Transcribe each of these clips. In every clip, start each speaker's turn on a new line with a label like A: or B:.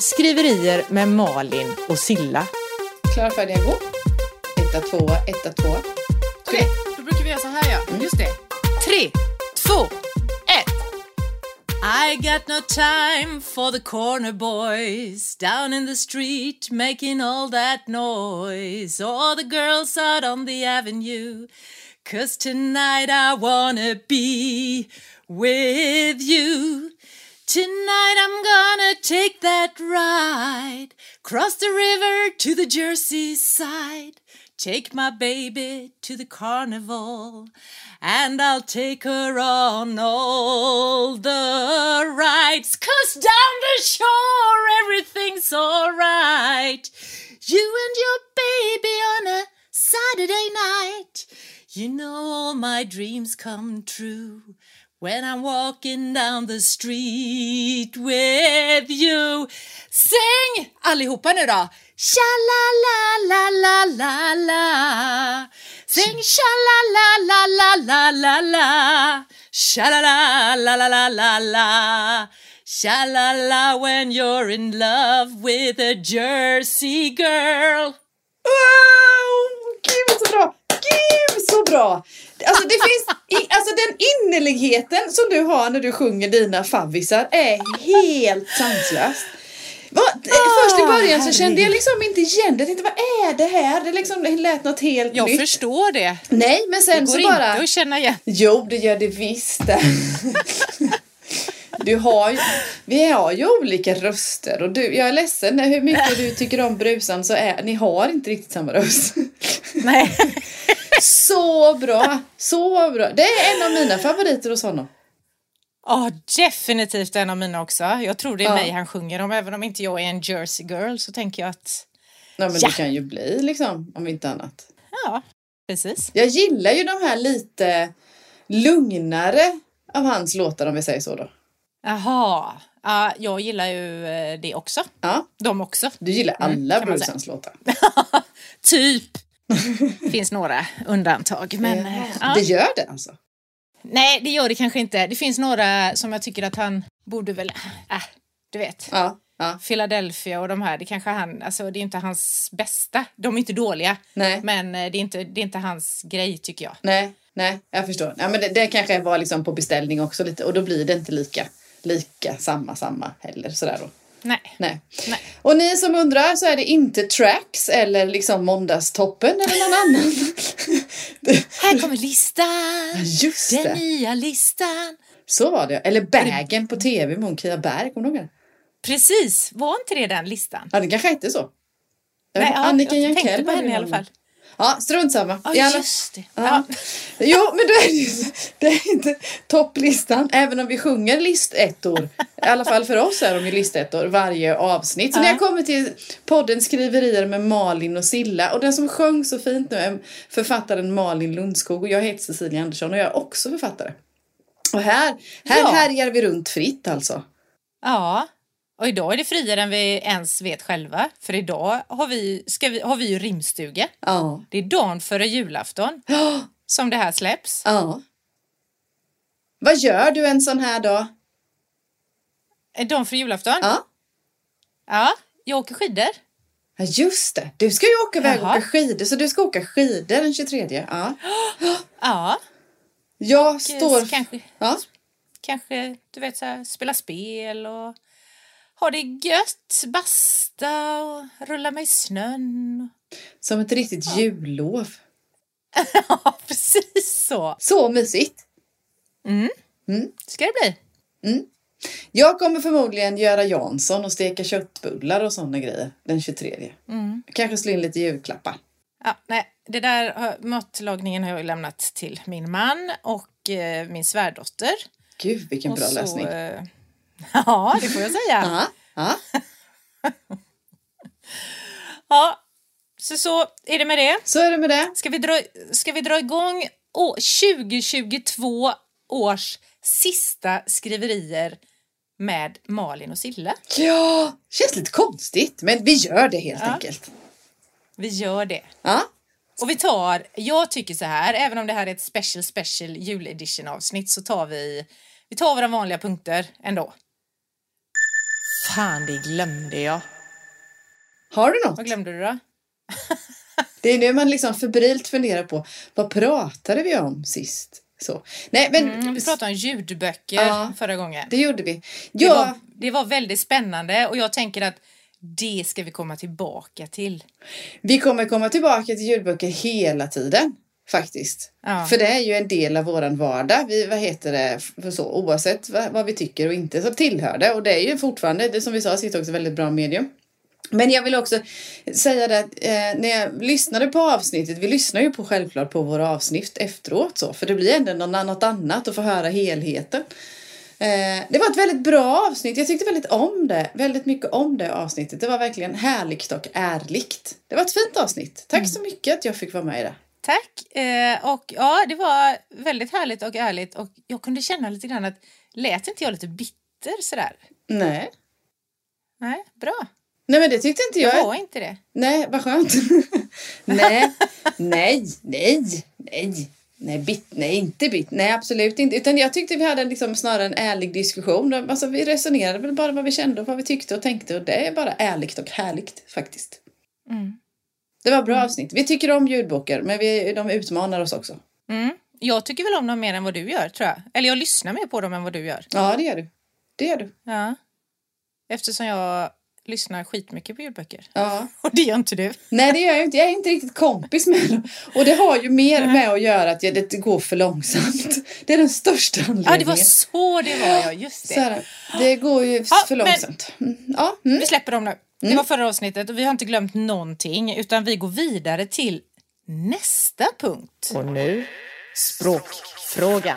A: Skriverier med Malin och Silla.
B: Klar, färdig, gå. Etta, tvåa, etta, tvåa.
C: Okej, då brukar vi göra så här ja.
A: Mm.
C: Just det. Tre, två, ett. I got no time for the corner boys down in the street making all that noise. All the girls out on the avenue. Cause tonight I wanna be with you. Tonight I'm gonna take that ride. Cross the river to the Jersey side. Take my baby to the carnival. And I'll take her on all the rides. Cause down the shore everything's alright. You and your baby on a Saturday night. You know all my dreams come true. When I'm walking down the street with you Sing! Allihopa nu då! Sha-la-la-la-la-la-la Sing sha-la-la-la-la-la-la-la Sha-la-la-la-la-la-la-la Sha-la-la when you're in love with a Jersey girl
B: Wow! Gud så bra! Gud så bra! Alltså, det finns i, alltså den innerligheten som du har när du sjunger dina favvisar är helt sanslös. Va? Först i början så kände jag liksom inte igen det. Jag tänkte, vad är det här? Det, liksom, det lät något helt
C: Jag
B: nytt.
C: förstår det.
B: Nej, men sen
C: Det går
B: så bara...
C: inte att känna igen.
B: Jo, det gör det visst. Du har ju, vi har ju olika röster och du, jag är ledsen när hur mycket du tycker om brusan så är, ni har inte riktigt samma röst.
C: Nej.
B: Så bra, så bra. Det är en av mina favoriter hos honom.
C: Ja, definitivt en av mina också. Jag tror det är
B: Ja.
C: mig han sjunger om. Även om inte jag är en Jersey girl så tänker jag att
B: Nej men
C: Ja.
B: det kan ju bli liksom, om inte annat.
C: ja, precis.
B: Jag gillar ju de här lite lugnare av hans låtar om vi säger så då.
C: Jaha, ja, jag gillar ju eh, det också.
B: Ja,
C: De också.
B: du gillar alla
C: Mm, kan man säga.
B: brusans låtar.
C: Typ. finns några undantag. Men, eh, ja.
B: Det gör det alltså.
C: Nej, det gör det kanske inte. Det finns några som jag tycker att han borde väl... Äh, du vet.
B: Ja, ja.
C: Philadelphia och de här, det kanske han, alltså det är inte hans bästa. De är inte dåliga,
B: Nej.
C: men eh, det är inte, det är inte hans grej tycker jag.
B: Nej, nej, jag förstår. Ja, men det, det kanske var liksom på beställning också lite och då blir det inte lika, lika samma, samma heller sådär då.
C: Nej.
B: Nej.
C: Nej.
B: Och ni som undrar så är det inte Tracks eller liksom Måndagstoppen eller någon annan. Det-
C: Här kommer listan!
B: Just
C: Den
B: det,
C: nya listan!
B: så var det Eller Bagen på tv med hon Kia Berg, kommer du ihåg det?
C: Precis, var inte det den listan?
B: Ja, det kanske hette så. Jag
C: Nej,
B: vet-
C: ja, jag
B: Jankell
C: tänkte på
B: hade
C: henne i
B: ju
C: alla
B: någon.
C: fall.
B: Ja, strunt samma.
C: Ja,
B: I alla-
C: just det.
B: Ja.
C: Ja.
B: Jo, men då är det, ju, det är inte topplistan, även om vi sjunger listettor. I alla fall för oss är de ju listettor varje avsnitt. Så när jag kommer till podden Skriverier med Malin och Silla och den som sjöng så fint nu är författaren Malin Lundskog och jag heter Cecilia Andersson och jag är också författare. Och här, här
C: Ja.
B: härjar vi runt fritt alltså.
C: ja. Och idag är det friare än vi ens vet själva. För idag har vi, ska vi, har vi ju rimstuga.
B: Ja,
C: Det är dagen före julafton som det här släpps.
B: ja. Vad gör du en sån här dag?
C: Eh, Dagen före julafton?
B: Ja.
C: Ja, jag åker skidor.
B: Ja just det, du ska ju åka iväg och
C: Jaha.
B: åka skidor så du ska åka skidor den 23. Ja.
C: Ja,
B: Jag
C: och, eh,
B: står...
C: så kanske,
B: Ja.
C: kanske du vet, så här, spela spel och ha det gött, basta och rulla mig i snön.
B: Som ett riktigt jullov.
C: Ja, precis så
B: Så mysigt!
C: ska det bli.
B: Jag kommer förmodligen göra Jansson och steka köttbullar och sådana grejer den 23. Kanske slå in lite julklappar.
C: Ja, nej, det där har- matlagningen har jag ju lämnat till min man och eh, min svärdotter.
B: Gud vilken
C: och
B: bra
C: så,
B: lösning.
C: eh, ja, det får jag säga.
B: Ja, ja.
C: ja, så, så är det med det.
B: Så är det med det.
C: Ska vi dra, ska vi dra igång å- 2022 års sista skriverier med Malin och Silla?
B: Ja, känns lite konstigt men vi gör det helt
C: Ja.
B: enkelt.
C: Vi gör det.
B: Ja.
C: Och vi tar, jag tycker så här, även om det här är ett special special juledition avsnitt så tar vi, vi tar våra vanliga punkter ändå.
A: Fan, det glömde jag.
B: Har du något?
C: Vad glömde du då?
B: Det är nu man liksom febrilt funderar på vad pratade vi om sist? Så. Nej, men
C: Mm, vi pratade om ljudböcker
B: Ja.
C: förra gången.
B: det gjorde vi.
C: Det,
B: Ja,
C: var, det var väldigt spännande och jag tänker att det ska vi komma tillbaka till.
B: vi kommer komma tillbaka till ljudböcker hela tiden. Faktiskt.
C: Ja.
B: För det är ju en del av våran vardag. Vi, vad heter det, för så, oavsett vad, vad vi tycker och inte så tillhör det. Och det är ju fortfarande, det som vi sa sist också, väldigt bra medium. Men jag vill också säga det att eh, när jag lyssnade på avsnittet, vi lyssnar ju på självklart på våra avsnitt efteråt så, för det blir ändå någon- något annat att få höra helheten. Eh, det var ett väldigt bra avsnitt, jag tyckte väldigt om det, väldigt mycket om det avsnittet. Det var verkligen härligt och ärligt. Det var ett fint avsnitt. Tack så mycket att jag fick vara med i det.
C: Tack! Eh, och ja, det var väldigt härligt och ärligt och jag kunde känna lite grann att lät inte jag lite bitter sådär?
B: Nej.
C: Nej, bra.
B: Nej men det tyckte inte jag.
C: Jag var inte det.
B: Nej, vad skönt. nej, nej, nej, nej. Nej, bit, nej, inte bit. Nej, absolut inte. Utan jag tyckte vi hade en, liksom, snarare en ärlig diskussion. Alltså, vi resonerade väl bara vad vi kände och vad vi tyckte och tänkte. Och det är bara ärligt och härligt faktiskt.
C: Mm.
B: Det var bra avsnitt. Vi tycker om ljudböcker, men vi, de utmanar oss också.
C: Mm. Jag tycker väl om dem mer än vad du gör, tror jag. Eller jag lyssnar mer på dem än vad du gör.
B: Ja, det gör du. Det gör du.
C: Ja. Eftersom jag lyssnar skitmycket på ljudböcker.
B: Ja.
C: Och det gör inte du.
B: Nej, det gör jag inte. Jag är inte riktigt kompis med dem. Och det har ju mer med att göra att jag, det går för långsamt. Det är den största anledningen.
C: Ja, det var så det var, ja. Just det.
B: Så här, det går ju
C: Ja,
B: för
C: men-
B: långsamt. Mm, ja, mm.
C: Vi släpper dem nu. Det var förra avsnittet och vi har inte glömt någonting utan vi går vidare till nästa punkt.
A: Och nu, språkfrågan.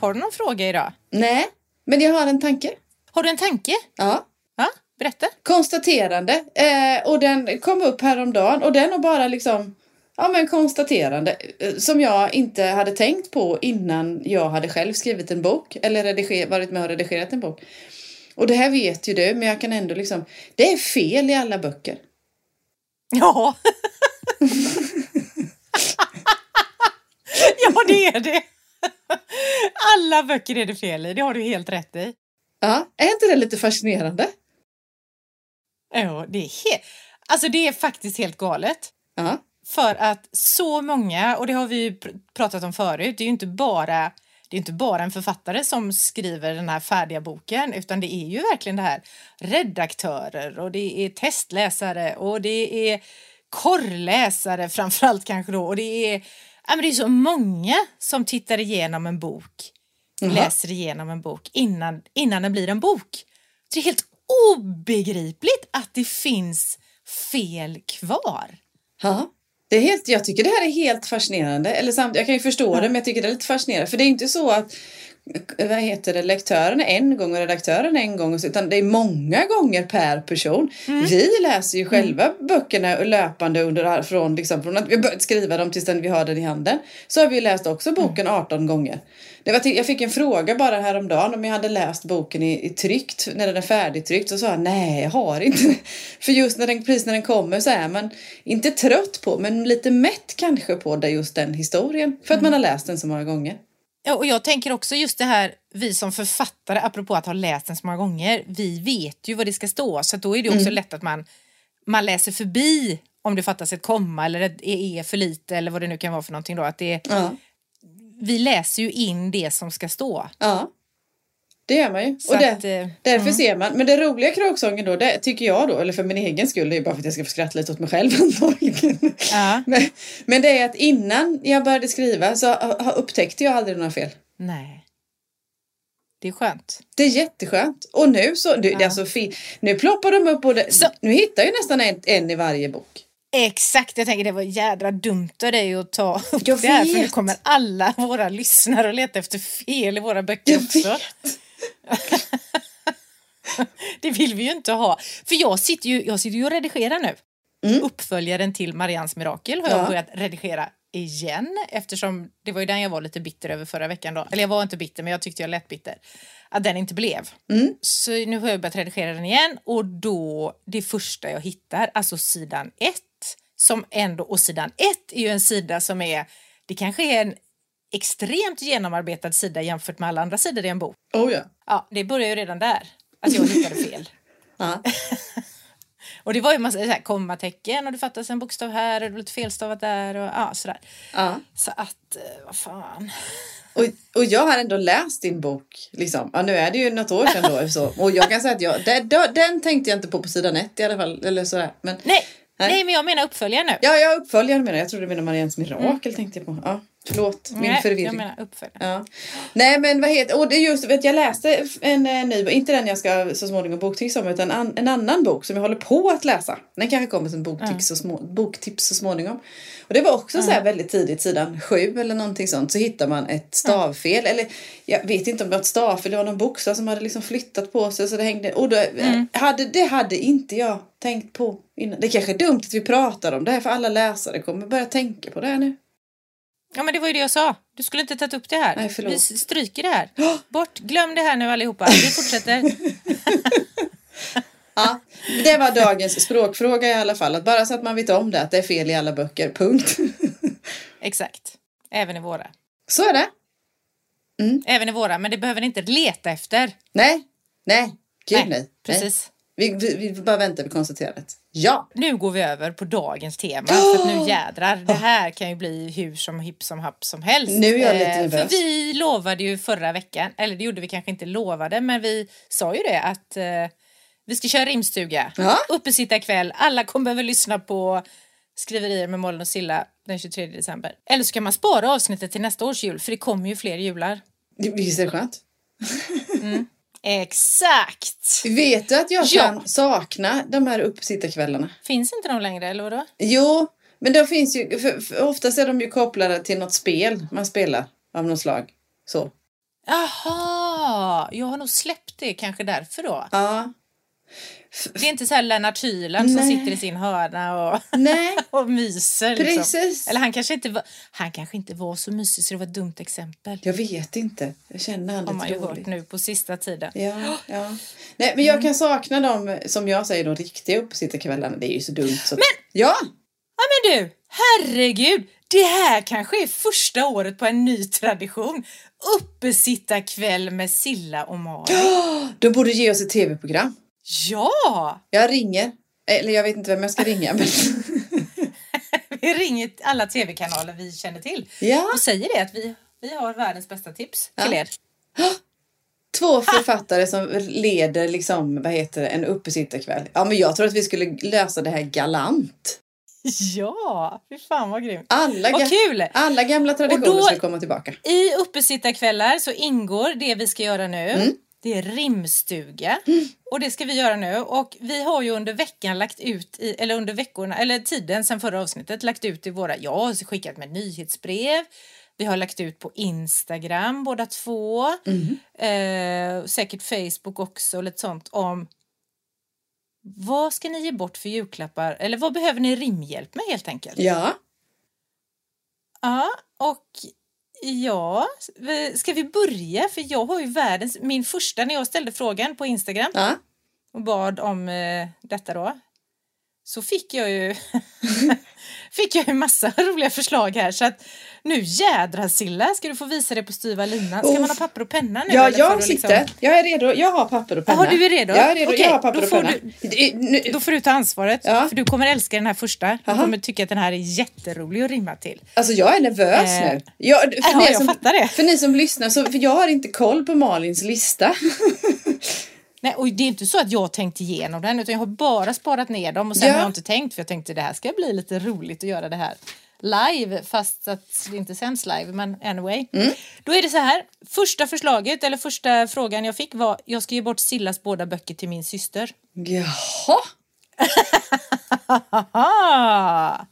C: Har du någon fråga idag?
B: Nej, men jag har en tanke.
C: Har du en tanke?
B: Ja.
C: Ja, berätta.
B: Konstaterande. Eh, och den kom upp häromdagen och den är bara liksom Ja men konstaterande eh, som jag inte hade tänkt på innan jag hade själv skrivit en bok eller rediger- varit med och redigerat en bok. Och det här vet ju du men jag kan ändå liksom, det är fel i alla böcker.
C: Ja. ja, det är det. Alla böcker är det fel i, det har du helt rätt i.
B: Ja, är inte det lite fascinerande?
C: Ja, det är, he- alltså, det är faktiskt helt galet.
B: Ja,
C: För att så många, och det har vi ju pr- pratat om förut, det är ju inte bara, det är inte bara en författare som skriver den här färdiga boken, utan det är ju verkligen det här redaktörer och det är testläsare och det är korrläsare framförallt kanske då och det är, ja, men det är så många som tittar igenom en bok, läser igenom en bok innan, innan den blir en bok. Så det är helt obegripligt att det finns fel kvar.
B: Ja, det är helt, jag tycker det här är helt fascinerande. Eller samt, jag kan ju förstå det, men jag tycker det är lite fascinerande. För det är inte så att vad heter det, lektören är en gång och redaktören är en gång, och så, utan det är många gånger per person. Vi läser ju själva böckerna löpande under, från, liksom, från att vi har börjat skriva dem tills den vi har den i handen. Så har vi ju läst också boken 18 gånger. Det var till, jag fick en fråga bara häromdagen om jag hade läst boken i, i tryckt, när den är färdigtryckt, och sa jag, nej, jag har inte. För just när den, precis när den kommer så är man inte trött på, men lite mätt kanske på det, just den historien. För att man har läst den så många gånger.
C: Ja, och jag tänker också just det här, vi som författare, apropå att ha läst den så många gånger, vi vet ju vad det ska stå, så att då är det också lätt att man, man läser förbi om det fattas ett komma eller ett e är för lite eller vad det nu kan vara för någonting då. Att det,
B: Ja.
C: vi läser ju in det som ska stå.
B: Ja, det gör man ju.
C: Så
B: Och det,
C: att, eh,
B: därför ser man. Men det roliga i kråksången då, det tycker jag då, eller för min egen skull, det är bara för att jag ska få skratta lite åt mig själv antagligen.
C: Ja.
B: Men, men det är att innan jag började skriva så ha- ha- upptäckte jag aldrig några fel.
C: Nej. Det är skönt.
B: Det är jätteskönt. Och nu så, nu, det är alltså, fi- nu ploppar de upp och det,
C: Så-
B: nu hittar jag ju nästan en, en i varje bok.
C: Exakt, jag tänker det var jädra dumt av dig att ta upp
B: Jag
C: det här, för nu
B: vet.
C: kommer alla våra lyssnare att leta efter fel i våra böcker
B: Jag
C: också. det vill vi ju inte ha. För jag sitter ju, jag sitter ju och redigerar nu. Uppföljaren till Marians Mirakel har
B: Mm. Ja.
C: jag börjat redigera igen eftersom det var ju den jag var lite bitter över förra veckan då. Eller jag var inte bitter men jag tyckte jag lät bitter. Att den inte blev.
B: Mm.
C: Så nu har jag börjat redigera den igen och då det första jag hittar, alltså sidan ett som ändå, och sidan ett är ju en sida som är, det kanske är en extremt genomarbetad sida jämfört med alla andra sidor i en bok.
B: Oh ja.
C: Ja, det börjar ju redan där, att jag hittade fel.
B: ja.
C: Och det var ju massa så här, kommatecken och det fattas en bokstav här och det blev lite felstavat där och ja, sådär.
B: ja.
C: Så att, eh, vad fan.
B: Och, och jag har ändå läst din bok. Liksom. Ja, nu är det ju något år sedan då. Så. Och jag kan säga att jag, den, den tänkte jag inte på på sidan ett i alla fall. Eller sådär. Men,
C: Nej,
B: Nej.
C: nej, men jag menar uppföljare nu.
B: ja, jag uppföljaren menar jag. Jag trodde du menade Marians mirakel tänkte jag på. Ja, förlåt, min
C: Mm. nej,
B: förvirring.
C: Jag menar uppföljare.
B: Ja. Nej men vad heter, och det är just, vet jag läste en eh, ny, inte den jag ska så småningom boktipsa om utan an, en annan bok som jag håller på att läsa. Den kanske kommer som boktips, så, små, boktips så småningom. Och det var också så här väldigt tidigt, sidan sju eller någonting sånt, så hittar man ett stavfel. Eller jag vet inte om det var ett stavfel, det var någon bokstav som hade liksom flyttat på sig så det hängde, och då, eh, hade, det hade inte jag tänkt på innan. Det kanske är dumt att vi pratar om det här för alla läsare kommer börja tänka på det här nu.
C: Ja, men det var ju det jag sa. Du skulle inte tagit upp det här.
B: Nej, förlåt.
C: Vi s- stryker det här. Bort, glöm det här nu allihopa. Vi fortsätter.
B: Ja, det var dagens språkfråga i alla fall. Att bara så att man vet om det, att det är fel i alla böcker. Punkt.
C: Exakt. Även i våra.
B: Så är det.
C: Även i våra, men det behöver ni inte leta efter.
B: Nej, nej, gud nej. nej.
C: precis.
B: Vi, vi, vi bara väntar på konstaterandet. Ja,
C: Nu går vi över på dagens tema. För att nu jädrar, det här kan ju bli hur som hipp som happ som helst.
B: Nu är jag lite
C: Eh,
B: nervös.
C: För vi lovade ju förra veckan, eller det gjorde vi kanske inte lovade, men vi sa ju det att eh, vi ska köra rimstuga.
B: Ja.
C: Uppesittarkväll. Alla kommer behöva lyssna på skriverier med Mollen och Silla den 23 december. Eller så kan man spara avsnittet till nästa års jul, för det kommer ju fler jular.
B: visst är det skönt?
C: Exakt!
B: Vet du att jag
C: Ja.
B: kan sakna de här uppesittarkvällarna?
C: Finns inte de längre, eller vadå?
B: Jo, men de finns ju, för, för oftast är de ju kopplade till något spel man spelar av något slag. Så.
C: Jaha, jag har nog släppt det kanske därför då.
B: Ja,
C: Det är inte så här Lennart Hyland som
B: Nej.
C: sitter i sin hörna och,
B: nej,
C: och myser.
B: Precis.
C: Liksom. Eller han kanske, inte var, han kanske inte var så mysig så det var ett dumt exempel.
B: jag vet inte. Jag känner han
C: har man
B: lite
C: ju
B: dåligt.
C: hört nu på sista tiden.
B: Ja, ja. Nej, men jag kan sakna dem, som jag säger, de riktiga uppesittarkvällarna. Det är ju så dumt. Så... Men! Ja!
C: Ja men du, herregud! Det här kanske är första året på en ny tradition. Uppesittarkväll med Silla och Malin.
B: De borde ge oss ett tv-program.
C: Ja!
B: Jag ringer. Eller jag vet inte vem jag ska ringa. Men...
C: Vi ringer alla tv-kanaler vi känner till
B: Ja.
C: och säger det att vi, vi har världens bästa tips
B: Ja.
C: till er.
B: Två författare som leder liksom, vad heter det, en uppesittarkväll. Ja, men jag tror att vi skulle lösa det här galant.
C: Ja, fy fan vad grymt.
B: Alla,
C: Vad
B: ga-
C: kul!
B: alla gamla traditioner
C: Och då-
B: skulle komma tillbaka.
C: I uppesittarkvällar så ingår det vi ska göra nu. Det är rimstuga och det ska vi göra nu och vi har ju under veckan lagt ut i, eller under veckorna eller tiden sedan förra avsnittet lagt ut i våra, jag har skickat med nyhetsbrev. Vi har lagt ut på Instagram båda två,
B: Mm.
C: eh, säkert Facebook också och lite sånt om vad ska ni ge bort för julklappar eller vad behöver ni rimhjälp med helt enkelt?
B: Ja.
C: Ja, och ja, vi- ska vi börja? För jag har ju världens, min första när jag ställde frågan på Instagram
B: ja.
C: och bad om eh, detta då, så fick jag ju fick jag ju massa roliga förslag här så att nu jädra Silla, ska du få visa det på styva linan? Ska
B: Oh.
C: man ha papper och penna nu?
B: Ja,
C: eller liksom- får
B: jag
C: du
B: sitter. Jag är redo. Jag har papper och penna.
C: Jaha, du är redo?
B: Jag är redo.
C: Okej,
B: jag har papper
C: då
B: och
C: får
B: penna. Det- Nu,
C: Då får du ta ansvaret,
B: Ja.
C: för du kommer älska den här första. Du
B: Aha.
C: kommer tycka att den här är jätterolig att rimma till.
B: Alltså jag är nervös
C: Eh,
B: nu. Jag, för,
C: ja,
B: ni
C: jag
B: som,
C: fattar det.
B: för ni som lyssnar, så, för jag har inte koll på Malins lista.
C: Nej, och det är inte så att jag har tänkt igenom den utan jag har bara sparat ner dem och sen
B: Ja.
C: har jag inte tänkt för jag tänkte det här ska bli lite roligt att göra det här live fast att det inte sänds live men anyway. Då är det så här, första förslaget eller första frågan jag fick var jag ska ge bort Sillas båda böcker till min syster.
B: Jaha.
C: Aha! Ah.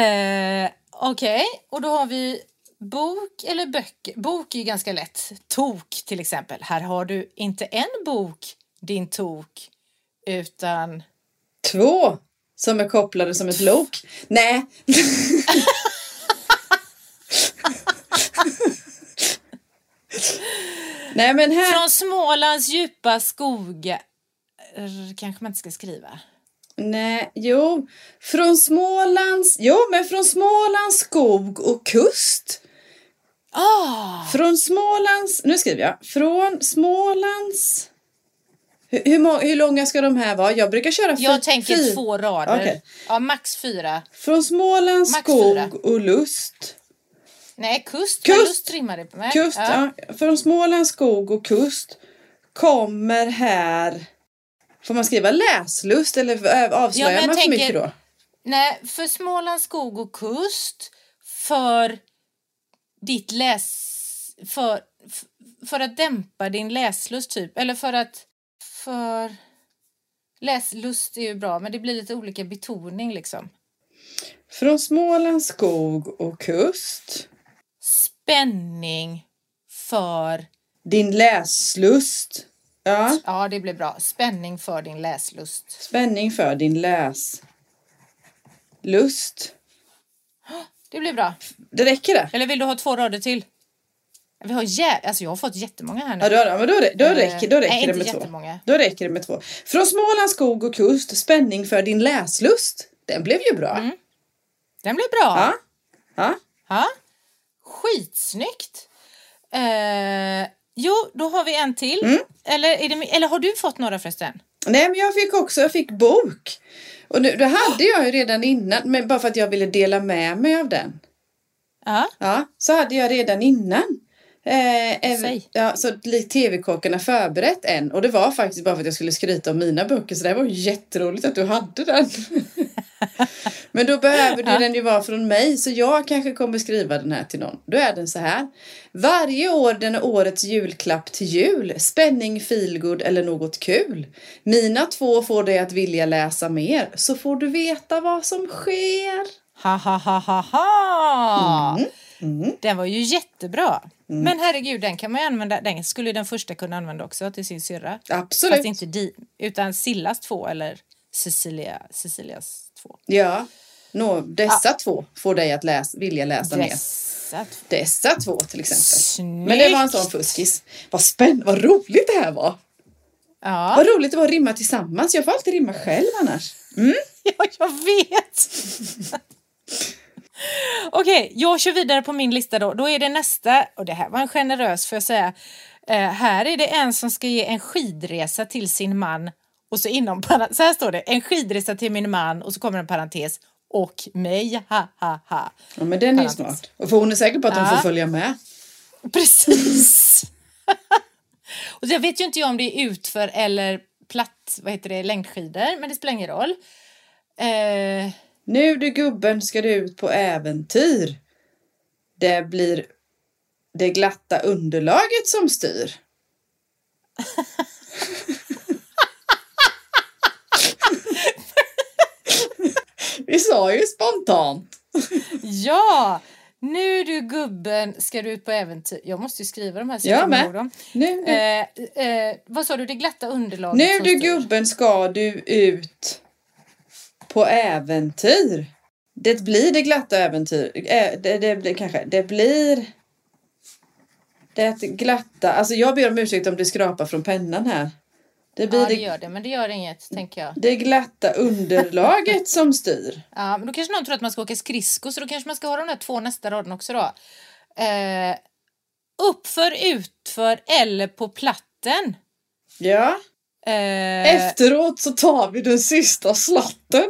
C: Eh, Okej, och då har vi bok eller böcker. Bok är ju ganska lätt. Tok till exempel. Här har du inte en bok, din tok, utan...
B: Två som är kopplade som ett lok. Nej. Nej men här.
C: Eh, Från Smålands djupa skogar... Kanske man inte ska skriva.
B: Nej, jo. Från Smålands... Jo, men från Smålands skog och kust.
C: Ah!
B: Från Smålands... Nu skriver jag. Från Smålands... Hur, hur, må- hur långa ska de här vara? Jag brukar köra
C: Jag
B: fy-
C: tänker
B: fy-
C: två rader.
B: Okej.
C: Ja, max fyra.
B: Från Smålands
C: Max fyra.
B: skog och lust.
C: Nej, kust.
B: Kust.
C: Kust, kust rimmar det på mig.
B: Kust,
C: ja.
B: ja. Från Smålands skog och kust kommer här... Får man skriva läslust eller ö- avslöjar
C: Ja, men jag
B: man för
C: tänker-
B: mycket då?
C: Nej, för Småland skog och kust. För ditt läs... För, f- för att dämpa din läslust, typ. Eller för att... För... Läslust är ju bra, men det blir lite olika betoning, liksom.
B: Från Smålands skog och kust.
C: Spänning för...
B: Din läslust. Ja.
C: Ja, det blir bra. Spänning för din läslust.
B: Spänning för din läslust.
C: Det blir bra.
B: Det räcker det?
C: Eller vill du ha två rader till? Vi har jä... Alltså jag har fått jättemånga här nu.
B: Ja, då, ja, men då, rä- då
C: Eh,
B: räcker, då räcker
C: nej,
B: det
C: inte
B: med två.
C: jättemånga.
B: Då räcker det med två. Från Smålands skog och kust. Spänning för din läslust. Den blev ju bra.
C: Mm. Den blir bra.
B: Ja. Ja.
C: Ja. Skitsnyggt! Eh, jo, då har vi en till.
B: Mm.
C: Eller, är det, mi- eller har du fått några förresten?
B: Nej, men jag fick också, jag fick bok. Och nu, det hade jag ju redan innan, men bara för att jag ville dela med mig av den.
C: Ja.
B: Ja, så hade jag redan innan. Eh, ev-
C: Säg.
B: ja, så likt TV-kockarna förberett en. Och det var faktiskt bara för att jag skulle skryta om mina böcker. Så det var ju jätteroligt att du hade den. Men då behöver du den ju vara från mig. Så jag kanske kommer skriva den här till någon. Då är den så här. Varje år den är årets julklapp till jul. Spänning, feelgood eller något kul. Mina två får dig att vilja läsa mer. Så får du veta vad som sker.
C: Ha, ha, ha, ha, ha!
B: Mm.
C: Den var ju jättebra. Men herregud, den kan man ju använda. Den skulle ju den första kunna använda också till sin syrra.
B: Absolut.
C: Fast inte di, utan Sillas två eller Cecilia, Cecilias två.
B: Ja. Nå, dessa två får dig att läs, vilja läsa mer.
C: Dessa två.
B: Dessa två till exempel.
C: Snyggt!
B: Men det var en sån fuskis. Vad spännande, vad roligt det här var.
C: Ja,
B: Vad roligt det var att rimma tillsammans. Jag får alltid rimma själv annars.
C: ja jag vet. Okej, jag kör vidare på min lista då. Då är det nästa, och det här var en generös får jag säga. Eh, här är det en som ska ge en skidresa till sin man och så inom parentes, så här står det, en skidresa till min man och så kommer en parentes och mig, ha ha ha.
B: Ja, men den är ju
C: Parentes.
B: smart. Och för hon är säker på att hon
C: Ja.
B: får följa med.
C: Precis. och jag vet ju inte jag om det är utför eller platt, vad heter det, längdskidor, men det spelar ingen roll. Eh,
B: Nu du gubben ska du ut på äventyr. Det blir det glatta underlaget som styr. Vi sa ju spontant.
C: Ja! Nu du gubben ska du ut på äventyr. Jag måste ju skriva de här så
B: Jag
C: kommer
B: med.
C: ihåg dem.
B: Nu du,
C: Eh, eh, vad sa du? Det glatta underlaget
B: nu
C: som
B: du
C: styr.
B: gubben ska du ut på äventyr. Det blir det glatta äventyr. Ä, det, det, blir kanske. Det blir det glatta. Alltså jag ber om ursäkt om det skrapar från pennan här. Det blir
C: Ja, det
B: det,
C: gör det, men det gör inget, tänker jag.
B: det glatta underlaget som styr.
C: Ja, men då kanske någon tror att man ska åka skridskor, så då kanske man ska ha de där två nästa raden också då. Eh, uppför, utför eller på platten.
B: Ja.
C: Eh,
B: Efteråt så tar vi den sista slatten.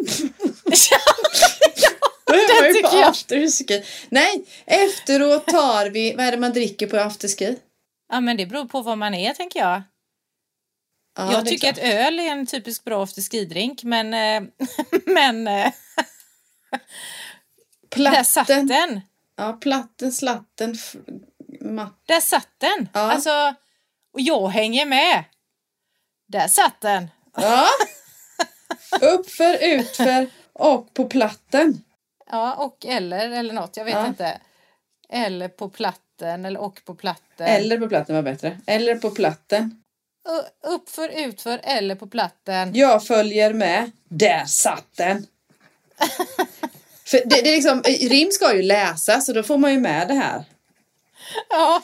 B: Det var ju
C: tycker
B: på
C: jag.
B: afterski. Nej, efteråt tar vi, vad är det man dricker på afterski?
C: ja, men det beror på vad man är, tänker jag.
B: Ja,
C: jag
B: det är
C: tycker
B: klart.
C: att öl är en typisk bra afterski-drink, men... Eh, men eh, där satt
B: Platten.
C: den!
B: Ja, platten, slatten, f- matt.
C: Där satt den!
B: Ja.
C: Alltså, och jag hänger med! Där satt den!
B: Ja. Uppför, utför och på platten.
C: Ja, och eller, eller något, jag vet
B: Ja.
C: inte. Eller på platten, eller och på platten.
B: Eller på platten var bättre. Eller på platten.
C: U- Uppför, utför eller på platten.
B: Jag följer med. Där satt den. För det, det är liksom, rim ska ju läsas så då får man ju med det här.
C: Ja.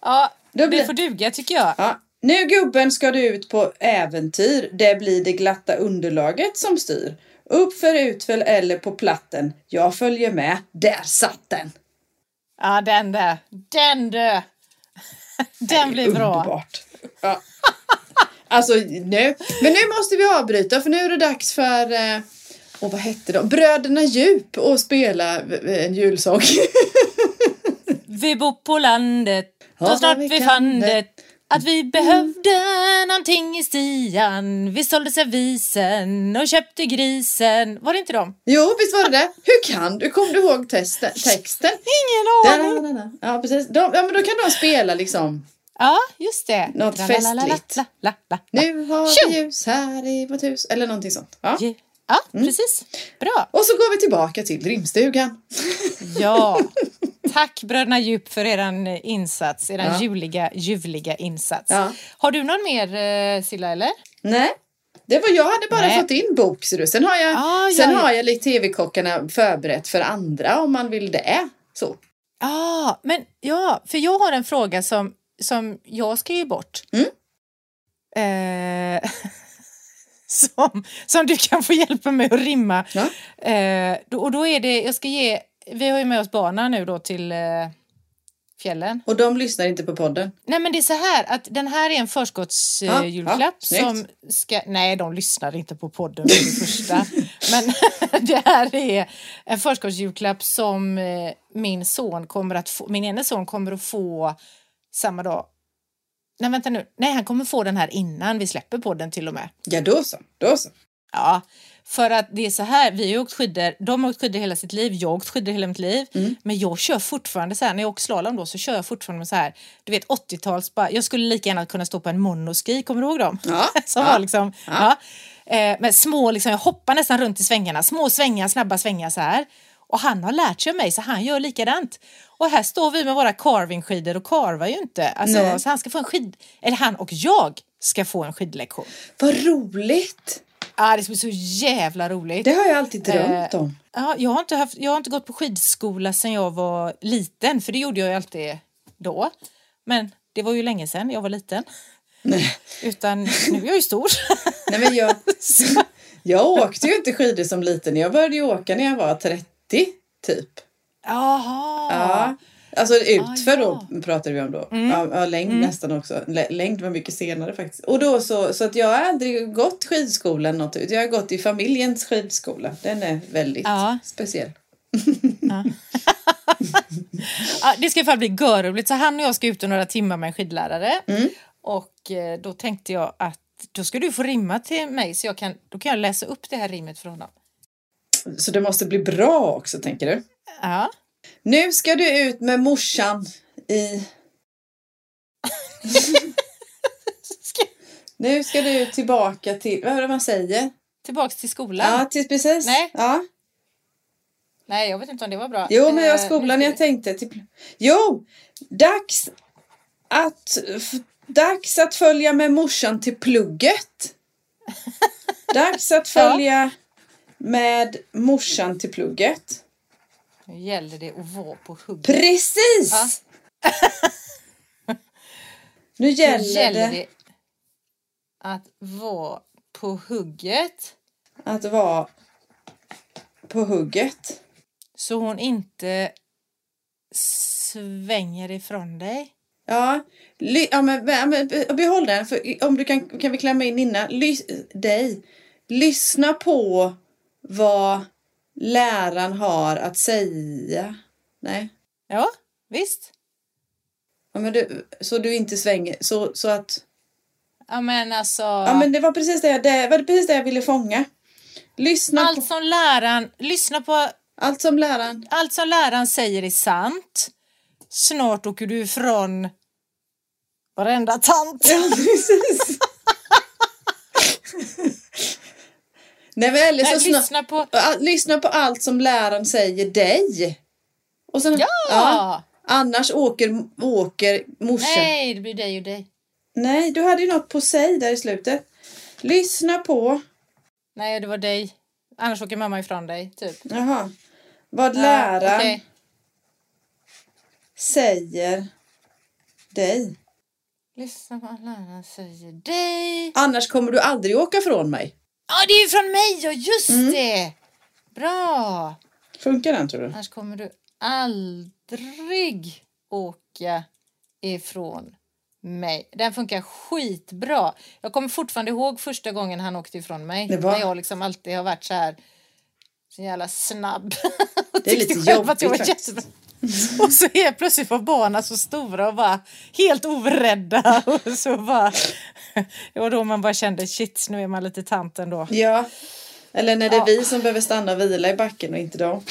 C: Ja,
B: Då blir-
C: det får duga tycker jag.
B: Ja, Nu gubben ska du ut på äventyr. Det blir det glatta underlaget som styr. Uppför, utför eller på platten. Jag följer med. Där satt den!
C: Ja, den där. Den du! Den blir bra.
B: Underbart. Ja. Alltså nu. Men nu måste vi avbryta för nu är det dags för eh, och vad hette de? Bröderna Djup och spela eh, en julsång.
C: Vi bor på landet
B: Ja,
C: och snart
B: vi
C: vi
B: kan
C: fann
B: det.
C: det att vi behövde någonting i stian. Vi sålde servisen och köpte grisen. Var det inte dem?
B: Jo, visst var det det? Hur kan du? Kom du ihåg testen, texten?
C: Ingen aning!
B: Da-da-da-da. Ja, precis. De, ja, men då kan de spela liksom.
C: Ja, just det.
B: Något
C: Tralalalala,
B: festligt.
C: la, la, la, la.
B: Nu har
C: Tjo!
B: vi ljus här i vårt hus. Eller någonting sånt. Ja. Mm.
C: Ja, precis. Bra.
B: Och så går vi tillbaka till rimstugan.
C: Ja. Tack bröderna Djup för er insats, er
B: Ja.
C: ljuvliga, ljuvliga insats.
B: Ja.
C: Har du någon mer eh, Silla eller?
B: Nej. Det var, jag hade bara
C: Nej.
B: fått in bok, ser du. Sen har jag,
C: Ah, ja,
B: sen
C: ja.
B: har jag lite TV-kockarna förberett för andra om man vill det. Så.
C: Ja, Ah, men ja, för jag har en fråga som, som jag ska ge bort. Eh, som, som du kan få hjälpa mig att rimma.
B: Ja.
C: Eh, då, och då är det, jag ska ge, vi har ju med oss barna nu då till eh, fjällen.
B: Och de lyssnar inte på podden.
C: Nej men det är så här att den här är en förskottsjulklapp
B: Ja,
C: eh, julklapp
B: ja, snyggt.
C: som ska... Nej, de lyssnar inte på podden för det första. Men det här är en förskottsjulklapp som eh, min son kommer att få, min ene son kommer att få samma dag. Nej vänta nu, nej han kommer få den här innan vi släpper podden till och med.
B: Ja, då så. Då så.
C: Ja, för att det är så här, vi har ju åkt skidor, de har åkt skidor hela sitt liv, jag har åkt skidor hela mitt liv,
B: Mm.
C: men jag kör fortfarande så här, när jag åker slalom då så kör jag fortfarande med så här, du vet 80-tals, bara- jag skulle lika gärna kunna stå på en monoski, kommer du ihåg dem?
B: Ja,
C: Som
B: ja,
C: var liksom, ja. Eh, men små, liksom, jag hoppar nästan runt i svängarna, små svängar, snabba svängar så här. Och han har lärt sig av mig så han gör likadant. Och här står vi med våra carvingskidor och karvar ju inte. Alltså,
B: Nej.
C: så han ska få en skid, eller han och jag ska få en skidlektion.
B: Vad roligt!
C: Ah, det ska bli så jävla roligt.
B: Det har jag alltid drömt
C: Eh,
B: om.
C: Ja, jag, har inte haft, jag har inte gått på skidskola sedan jag var liten, för det gjorde jag ju alltid då. Men det var ju länge sedan jag var liten.
B: Nej.
C: Utan nu är jag ju stor.
B: Nej, men jag, jag åkte ju inte skidor som liten. Jag började ju åka när jag var 30, typ.
C: Jaha!
B: Ja. Alltså utför
C: Ah, ja. Mm.
B: då pratade vi om då. Ja, ja, längd nästan också. Lä- Längd var mycket senare faktiskt. Och då så, så att jag har aldrig gått skidskolan något ut. Jag har gått i familjens skidskola. Den är väldigt
C: Ja.
B: speciell.
C: Ja, det ska i alla fall bli görroligt. Så han och jag ska ut och några timmar med en skidlärare.
B: Mm.
C: Och eh, då tänkte jag att då ska du få rimma till mig så jag kan, då kan jag läsa upp det här rimmet för honom.
B: Så det måste bli bra också tänker du.
C: Ja.
B: Nu ska du ut med morsan i...
C: Ska-
B: Nu ska du tillbaka till... Vad är det man säger?
C: Tillbaks till skolan.
B: Ja, till, precis.
C: Nej.
B: Ja.
C: Nej, jag vet inte om det var bra.
B: Jo, men jag
C: Eh,
B: skolan,
C: nu-
B: jag tänkte... Typ, jo, dags att, f, dags att följa med morsan till plugget. Dags att följa med morsan till plugget.
C: Nu gäller det att vara på hugget.
B: Precis!
C: Ja.
B: Nu
C: Nu
B: gäller,
C: gäller
B: det,
C: det att vara på hugget
B: att vara på hugget.
C: så hon inte svänger ifrån dig.
B: Ja, ly, ja, men, ja, men behåll den. För, om du kan, kan vi klämma in innan. Lys, dig. Lyssna på vad läraren har att säga. Nej.
C: Ja, visst.
B: Ja, men du, så du inte svänger. Så, så att,
C: Ja, men alltså,
B: ja. men det var precis det, jag, det var precis det jag ville fånga. Lyssna
C: allt
B: på
C: som läraren, lyssna på
B: allt som läraren...
C: allt som läraren säger är sant. Snart åker du ifrån varenda tant.
B: Ja, precis. Nej, men eller så
C: Nej,
B: snart...
C: lyssna på...
B: Ja, Lyssna på allt som läraren säger dig. Och sen,
C: Ja!
B: Annars åker, åker morsan. Nej.
C: Nej, det blir dig och dig.
B: du hade ju något på sig där i slutet. Lyssna på
C: Nej, det var dig. Annars åker mamma ifrån dig, typ.
B: jaha, vad läraren
C: okej.
B: säger dig.
C: Lyssna på alla andra säger dig.
B: Annars kommer du aldrig åka från mig.
C: Ja, det är ju från mig! Ja, just
B: Mm.
C: det! Bra!
B: Funkar den tror du?
C: Annars kommer du aldrig åka ifrån mig. Den funkar skitbra. Jag kommer fortfarande ihåg första gången han åkte ifrån mig.
B: Det var-
C: När jag liksom alltid har varit så här så jävla snabb. Och
B: Det är lite
C: tyckte själv att jag var
B: jobbigt faktiskt.
C: jättebra. Och så helt plötsligt var barnen så stora och bara helt orädda. Och så bara... Det var då man bara kände shit, nu är man lite tant ändå.
B: Ja. Eller när det är
C: Ja.
B: vi som behöver stanna och vila i backen och inte dem.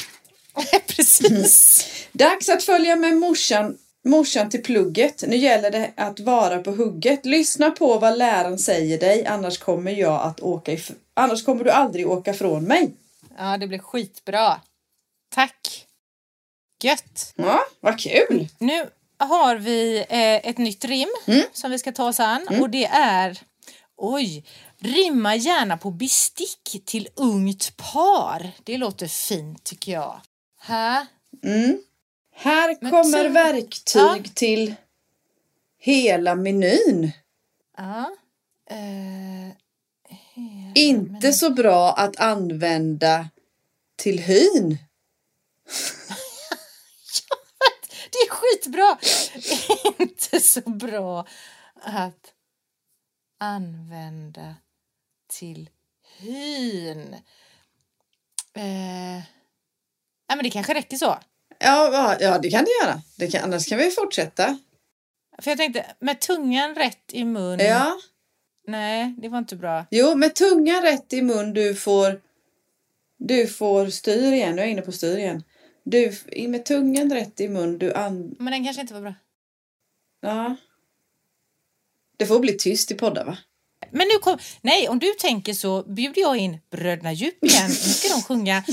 C: Precis.
B: Dags att följa med morsan, morsan till plugget. Nu gäller det att vara på hugget. Lyssna på vad läraren säger dig, annars kommer, jag att åka if- annars kommer du aldrig åka från mig.
C: Ja, det blev skitbra. Tack. Gött.
B: Ja, vad kul!
C: Nu har vi eh, ett nytt rim
B: Mm.
C: som vi ska ta oss an och det är Oj, rimma gärna på bestick till ungt par. Det låter fint tycker jag. Här.
B: Mm. Här
C: Men
B: kommer
C: tur-
B: verktyg
C: Ja.
B: till hela menyn.
C: Ja. Eh,
B: Inte så bra att använda till hyn.
C: det är skitbra! Inte så bra att använda till hyn. Eh, nej, men det kanske räcker så.
B: Ja, va- ja det kan det göra. Det kan, annars kan vi fortsätta.
C: För jag tänkte, med tungan rätt i mun.
B: Ja.
C: Nej, det var inte bra.
B: Jo, med tungan rätt i mun du får... Du får styr igen. Nu är jag inne på styr igen. Du, f- i- med tungan rätt i mun du an...
C: Men den kanske inte var bra.
B: Ja. Det får bli tyst i podden va?
C: Men nu kom... Nej, om du tänker så bjuder jag in Bröderna Djup igen. Nu ska de sjunga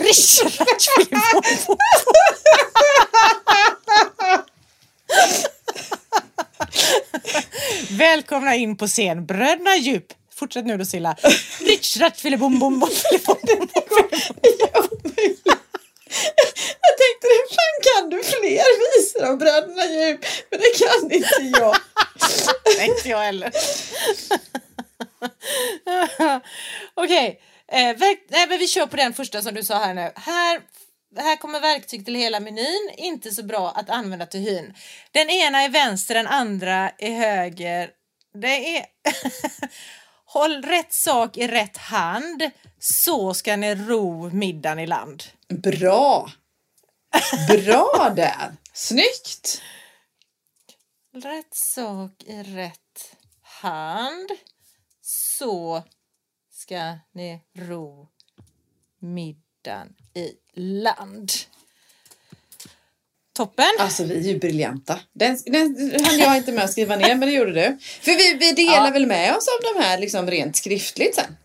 C: Rish-rash-vivo. Välkomna in på scen, Bröderna Djup. Fortsätt nu då Silla. Rish-rash, filibom, bom, bom, filibom, bom, bom.
B: Jag tänkte, hur fan kan du fler visor av Bröderna Djup? Men det kan inte jag.
C: Nej, inte jag heller. Okej, eh, verk- nej, men vi kör på den första som du sa här nu. Här, här kommer verktyg till hela menyn, inte så bra att använda till hyn. Den ena är vänster, den andra är höger. Det är... Håll rätt sak i rätt hand, så ska ni ro middagen i land.
B: Bra! Bra där! Snyggt!
C: Rätt sak i rätt hand. Så ska ni ro middagen i land. Toppen!
B: Alltså vi är ju briljanta. Den, den hann jag inte med att skriva ner men det gjorde du. För vi, vi delar
C: Ja.
B: väl med oss av de här liksom rent skriftligt sen.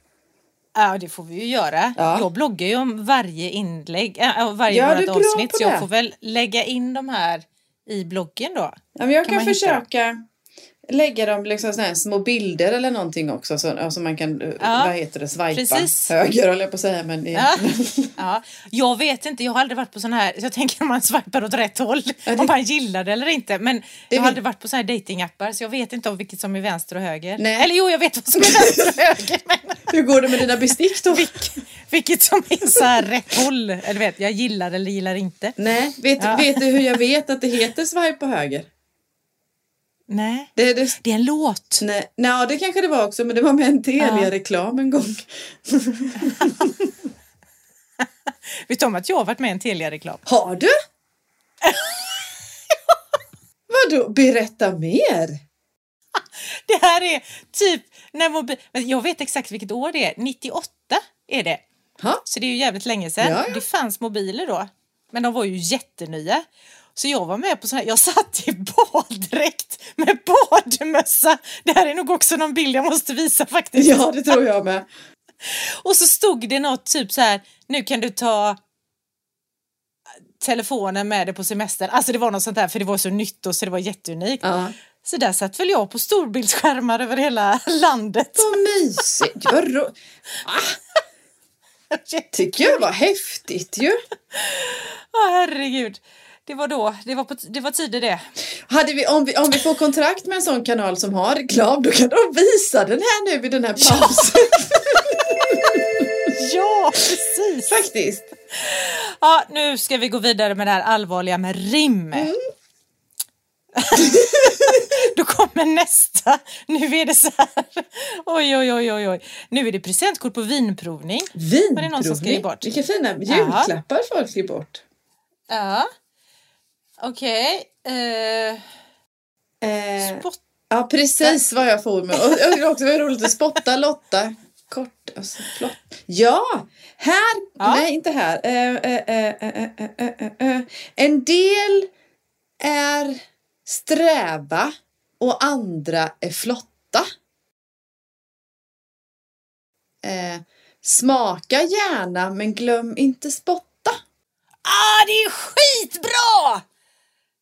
C: Ja, det får vi ju göra.
B: Ja.
C: Jag bloggar ju om varje inlägg, äh, om varje
B: Ja, du är
C: vårat
B: bra
C: avsnitt.
B: på
C: Så jag
B: det.
C: får väl lägga in de här i bloggen då.
B: Ja, men jag
C: Kan
B: kan,
C: man hitta
B: försöka lägga dem liksom såna här små bilder eller någonting också så, så man kan, eh,
C: Ja,
B: vad heter det, swipa
C: precis.
B: höger höll jag på att säga men eh, i,
C: Ja. Ja. Jag vet inte, jag har aldrig varit på sån här, jag tänker om man swipar åt rätt håll, om man gillar det eller inte. Men jag
B: vet-
C: har aldrig varit på sån här datingappar så jag vet inte om vilket som är vänster och höger.
B: Nej.
C: Eller jo, jag vet vad som är vänster och höger, men
B: Hur går det med dina bestick då?
C: vilk, vilket som är så här rätt håll. Eller vet, jag gillar eller gillar inte.
B: Nej, vet,
C: Ja.
B: vet du hur jag vet att det heter swipa höger?
C: Nej,
B: Det, det,
C: det är en låt.
B: nej, nej, det kanske det var också men det var med en Telia-reklam en gång.
C: Vet du om att jag har varit med i en Telia-reklam?
B: Har du? Vadå, berätta mer?
C: Det här är typ när mobil... Men jag vet exakt vilket år det är. 98 är det.
B: Ha?
C: Så det är ju jävligt länge sedan.
B: Ja, ja.
C: Det fanns mobiler då. Men de var ju jättenya. Så jag var med på sån här, jag satt i baddräkt med badmössa. Det här är nog också någon bild jag måste visa faktiskt.
B: Ja, det tror jag med.
C: Och så stod det något typ så här, nu kan du ta telefonen med dig på semestern. Alltså det var något sånt där för det var så nytt och så det var jätteunikt.
B: Ja.
C: Så där satt väl jag på storbildsskärmar över hela landet.
B: Vad mysigt. Vad ro- tycker jag var häftigt ju.
C: Åh herregud. det var då, det var, på, det var tider det.
B: Hade vi, om, vi, om vi får kontrakt med en sån kanal som har reklam, då kan de visa den här nu i den här pausen.
C: Ja, precis!
B: Faktiskt.
C: Ja, nu ska vi gå vidare med det här allvarliga med rim. Då kommer nästa. Nu är det så här. Oj, oj, oj, oj, oj. Nu är det presentkort på vinprovning.
B: Vinprovning.
C: Var det någon som skrev bort?
B: Vilka fina julklappar folk ger bort.
C: Ja. Okej. Eh,
B: Eh,
C: spott-
B: ja, precis vad jag får med. Och, och det var också roligt att spotta Lotta. Kort och så flott. Ja, här.
C: Ja.
B: Nej, inte här. Eh, eh, eh, eh, eh, eh, eh, eh. En del är sträva och andra är flotta. Eh, smaka gärna men glöm inte spotta.
C: Ah, det är skitbra!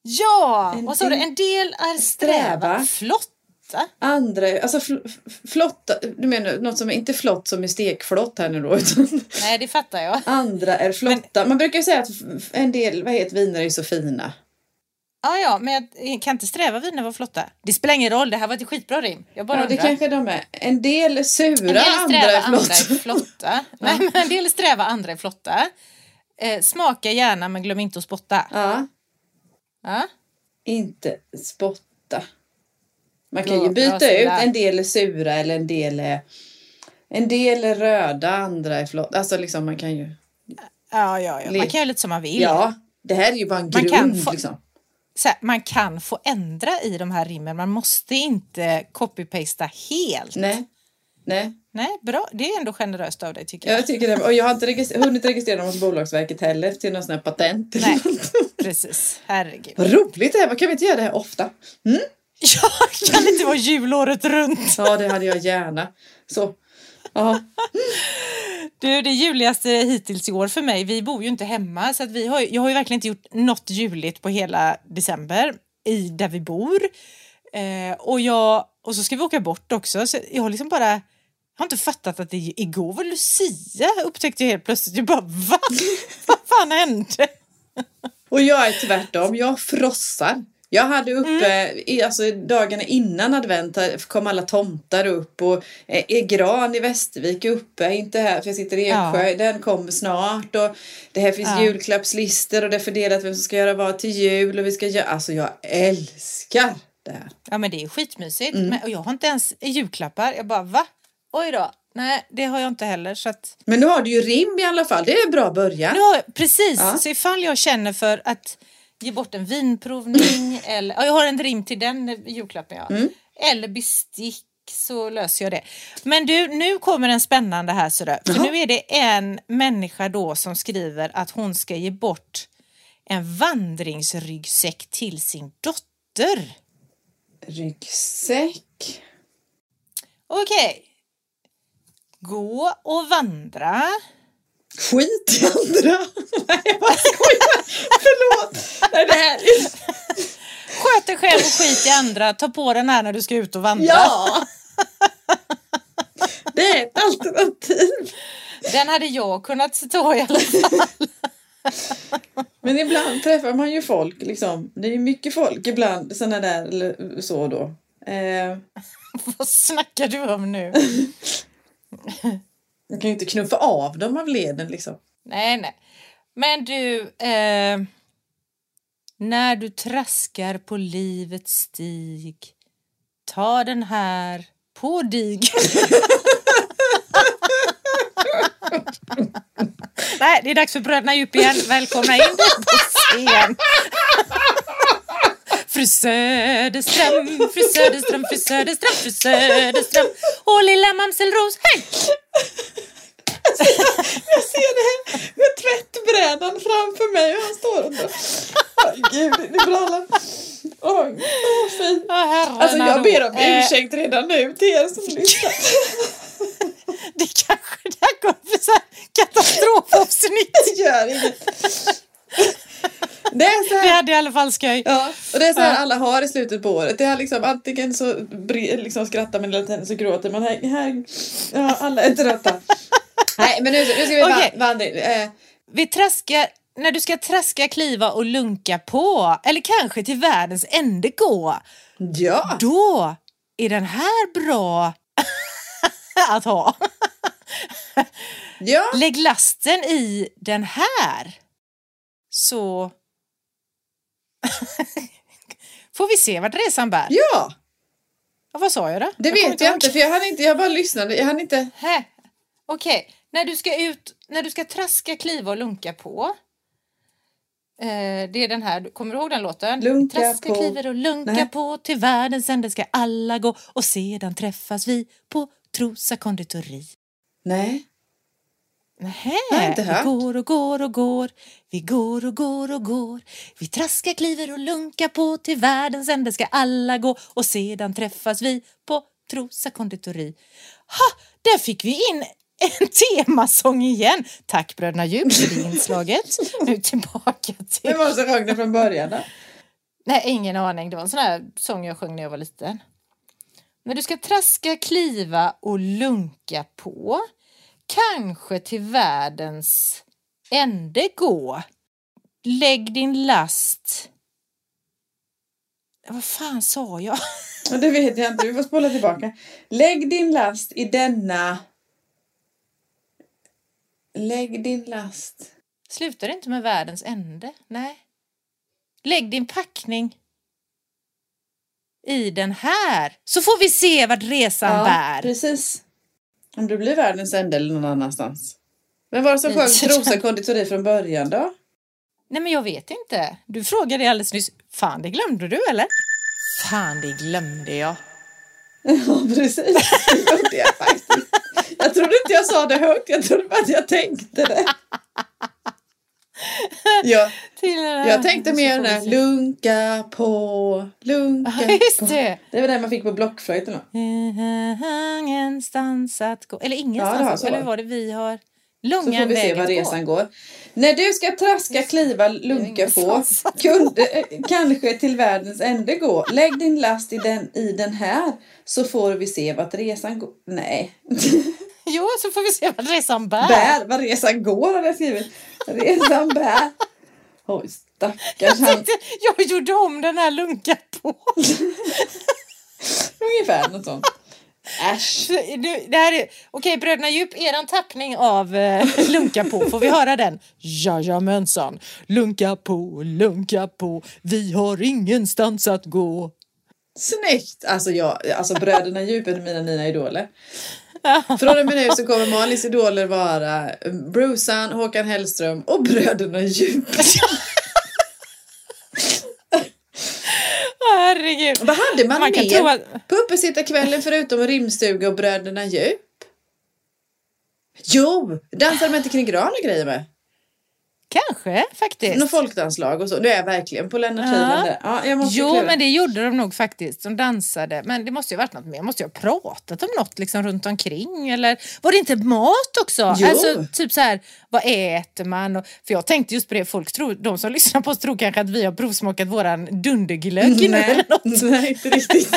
C: Ja,
B: En
C: vad sa du?
B: del-
C: En del är
B: Sträva.
C: sträva. Flotta.
B: Andra, alltså fl- f- flotta, du menar något som är inte flott som är stekflott här nu då, utan
C: Nej, det fattar jag.
B: andra är flotta. Man brukar ju säga att f- en del, vad heter viner är ju så fina.
C: Ja, ja, men jag kan inte sträva viner var flotta? Det spelar ingen roll, det här var ett skitbra rim. Jag bara
B: Ja, det
C: undrar.
B: kanske de är. En del är sura,
C: En del
B: andra
C: sträva,
B: är
C: andra
B: flotta.
C: är flotta. Nej, men en del sträva, andra är flotta. Eh, smaka gärna, men glöm inte att spotta.
B: Ja,
C: Ja.
B: inte spotta. Man kan
C: Ja,
B: ju
C: bra
B: byta
C: sådär.
B: ut, en del är sura eller en del är, en del är röda, andra är flotta. Alltså liksom man kan ju,
C: Ja, ja, ja. Man
B: Lek.
C: kan göra lite som man vill.
B: ja, det här är ju bara en
C: Man
B: grund
C: kan få-
B: liksom.
C: Så här, man kan få ändra i de här rimmen. Man måste inte copy-pasta helt.
B: Nej, nej.
C: Nej, bra. Det är ändå generöst av dig tycker
B: Ja,
C: jag.
B: Jag tycker det. Och jag har inte registrer- hunnit registrera dem hos Bolagsverket heller till någon sån här patent.
C: Nej, precis. Herregud.
B: Vad roligt det här var. Kan vi inte göra det här ofta? Mm?
C: Jag kan inte vara julåret runt.
B: Ja, det hade jag gärna. Så. Ja.
C: Du, det juligaste hittills i år för mig, vi bor ju inte hemma så att vi har, ju- jag har ju verkligen inte gjort något juligt på hela december i där vi bor. Eh, och, jag, och så ska vi åka bort också så jag har liksom bara jag har inte fattat att det igår var Lucia upptäckte jag helt plötsligt. Jag bara va? Vad fan hände?
B: Och jag är tvärtom. Jag frossar. Jag hade uppe, i, alltså dagarna innan advent här kom alla tomtar upp och eh, er gran i Västervik är uppe, inte här för jag sitter i
C: Ja.
B: Eksjö, den kommer snart och det här finns
C: Ja.
B: julklappslistor och det är fördelat vem som ska göra vad till jul och vi ska göra, alltså jag älskar det här.
C: Ja men det är skitmysigt. Men, och jag har inte ens julklappar. Jag bara va? Oj då. Nej det har jag inte heller så att
B: Men nu har du ju rim i alla fall, det är en bra början.
C: Nu har jag, precis,
B: Ja.
C: så ifall jag känner för att ge bort en
B: Mm.
C: vinprovning eller ja, jag har en rim till den eh, julklappen jag har. Eller bestick så löser jag det. Men du, nu kommer en spännande här sådär. För
B: Jaha.
C: nu är det en människa då som skriver att hon ska ge bort en vandringsryggsäck till sin dotter.
B: Ryggsäck.
C: Okej. Gå och vandra.
B: Skit i andra. Nej, jag bara skojar. Förlåt. Nej, det här är...
C: Sköt dig själv och skit i andra. Ta på den här när du ska ut och vandra.
B: Ja. Det är ett alternativ.
C: Den hade jag kunnat ta i alla fall.
B: Men ibland träffar man ju folk liksom. Det är ju mycket folk ibland sådana där eller så då. Eh,
C: Vad snackar du om nu?
B: man kan ju inte knuffa av dem av leden liksom.
C: nej, nej. Men du, eh, när du traskar på livets stig, ta den här på dig. nej, det är dags för Bröderna Djup igen. Välkomna in på scen. Fru Söderström, fru Söderström, fru Söderström, fru Söderström och lilla mamselros, hej!
B: Jag ser det här med tvättbrädan framför mig och han står och oh, gud, det brallar. Oj, vad fint.
C: Ja, herrarna
B: Alltså jag
C: då.
B: ber om
C: Eh,
B: ursäkt redan nu till er som lyssnar.
C: Det kanske det här kommer bli så här katastrofavsnitt.
B: Det gör inget. Det är så
C: Vi
B: här,
C: hade i alla fall skoj.
B: ja, och det är så här
C: Ja.
B: alla har i slutet på året. Det är liksom antingen så bri- liksom skrattar man eller tiden så gråter man. Här, här, ja, alla är trötta. Nej men nu, så- nu ska vi
C: Okej.
B: va- vandra in. Eh,
C: Vi traskar... när du ska traska, kliva och lunka på, eller kanske till världens ände gå,
B: Ja.
C: då är den här bra att ha.
B: ja.
C: Lägg lasten i den här. Så får vi se vart resan bär.
B: Ja.
C: Ja, vad sa jag då?
B: Det vet jag inte för jag hann inte, jag bara lyssnade. Jag hann inte.
C: Hä? Okej, när du ska ut, när du ska traska, kliva och lunka på. Eh, det är den här, kommer du ihåg den låten?
B: Lunka
C: traska,
B: på.
C: kliver och lunka
B: Nej.
C: på till världens ände ska alla gå och sedan träffas vi på Trosa konditori.
B: Nej.
C: Nähä,
B: har jag inte
C: vi
B: hört.
C: går och går och går, vi går och går och går. Vi traskar, kliver och lunkar på till världens ände ska alla gå och sedan träffas vi på Trosa konditori. Ha, där fick vi in en temasång igen. Tack bröderna Djup för det inslaget. Nu tillbaka till...
B: Det var så sjöng den från början. Då.
C: Nej, ingen aning. Det var en sån här sång jag sjöng när jag var liten. När du ska traska, kliva och lunka på. Kanske till världens ände gå. Lägg din last... Vad fan sa jag?
B: Ja, Det vet jag inte. Vi får spola tillbaka. Lägg din last i denna. Lägg din last.
C: Slutar det inte med världens ände? Nej. Lägg din packning i den här så får vi se vart resan bär.
B: precis. Om du blir världens ände eller någon annanstans. Men var det som
C: Mm.
B: sjöng Trosa konditori från början då?
C: Nej men jag vet inte. Du frågade alldeles nyss. Fan det glömde du eller?
A: Fan, det glömde jag.
B: Ja, precis. Det gjorde jag faktiskt. Jag trodde inte jag sa det högt. Jag trodde bara att jag tänkte det. Ja,
C: Till, eh,
B: jag tänkte
C: så
B: mer
C: får
B: den
C: vi
B: där
C: se.
B: lunka på, lunka
C: Ja, just
B: på.
C: det.
B: Det var den man fick på blockflöjten va?
C: Ingenstans att gå. Eller
B: Ja, det har
C: ingenstans.
B: så
C: eller
B: varit.
C: hur var det vi har?
B: Så
C: Långa
B: får vi se
C: vägen
B: var
C: att gå.
B: resan går. När du ska traska, kliva, lunka på, kunde, eh, kanske till världens ände gå. Lägg din last i den, i den här så får vi se vart resan går. Nej,
C: Jo, så får vi se vart resan bär.
B: bär, vad resan går hade jag skrivit. Resan bär. Oj, stackars han.
C: Jag gjorde om den här lunkan på.
B: Ungefär något sånt. Äsch.
C: Så, nu- Det här är, okej, Bröderna Djup, eran tappning av eh, Lunka på, får vi höra den? Jajamensan, lunka på, lunka på, vi har ingenstans att gå.
B: Snyggt! Alltså, jag, alltså bröderna djupet är mina nya idoler. Från och med nu så kommer Malins idoler vara Brucean, Håkan Hellström och bröderna djup.
C: Åh, Herregud.
B: Vad hade man,
C: Man kan
B: mer
C: tro att-
B: på uppesittarkvällen förutom rimstuga och bröderna djup? Jo! Dansade man inte kring gran och grejer med?
C: Kanske faktiskt.
B: Någon folkdanslag och så. Du är jag verkligen på Lennart
C: Ja.
B: Hyland där. ja, jag måste
C: Jo,
B: klura.
C: men det gjorde de nog faktiskt. De dansade. Men det måste ju ha varit något mer. Måste jag ha pratat om något liksom runt omkring? Eller var det inte mat också?
B: Jo.
C: Alltså, typ så här, vad äter man? Och, för jag tänkte just på det, folk tror, de som lyssnar på oss tror kanske att vi har provsmakat våran dunderglögg nu eller
B: Nej,
C: något.
B: nej, inte riktigt.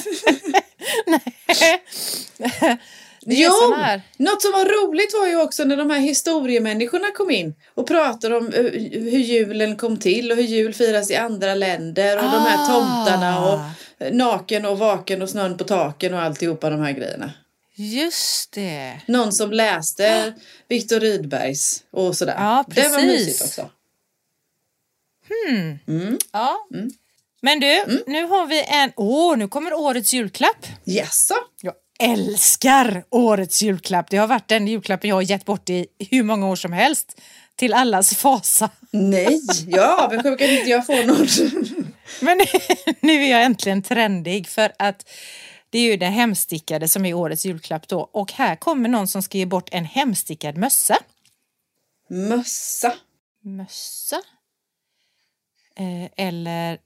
C: Det är
B: Jo,
C: sån här.
B: något som var roligt var ju också när de här historiemänniskorna kom in och pratade om eh, hur julen kom till och hur jul firas i andra länder och de här
C: Ah.
B: tomtarna och eh, naken och vaken och snön på taken och alltihopa de här grejerna.
C: Just det.
B: Någon som läste Viktor Rydbergs och sådär.
C: Ja,
B: det var
C: precis.
B: mysigt också.
C: Ja. Men du,
B: Mm.
C: nu har vi en... Åh, nu kommer årets julklapp.
B: Jaså?
C: Jag älskar årets julklapp. Det har varit den julklappen jag har gett bort i hur många år som helst. Till allas fasa.
B: Nej, ja, men sjukt att inte jag får någon.
C: Men nu är jag äntligen trendig för att det är ju den hemstickade som är årets julklapp då. Och här kommer någon som ska ge bort en hemstickad mössa.
B: Mössa.
C: Mössa? Eh, eller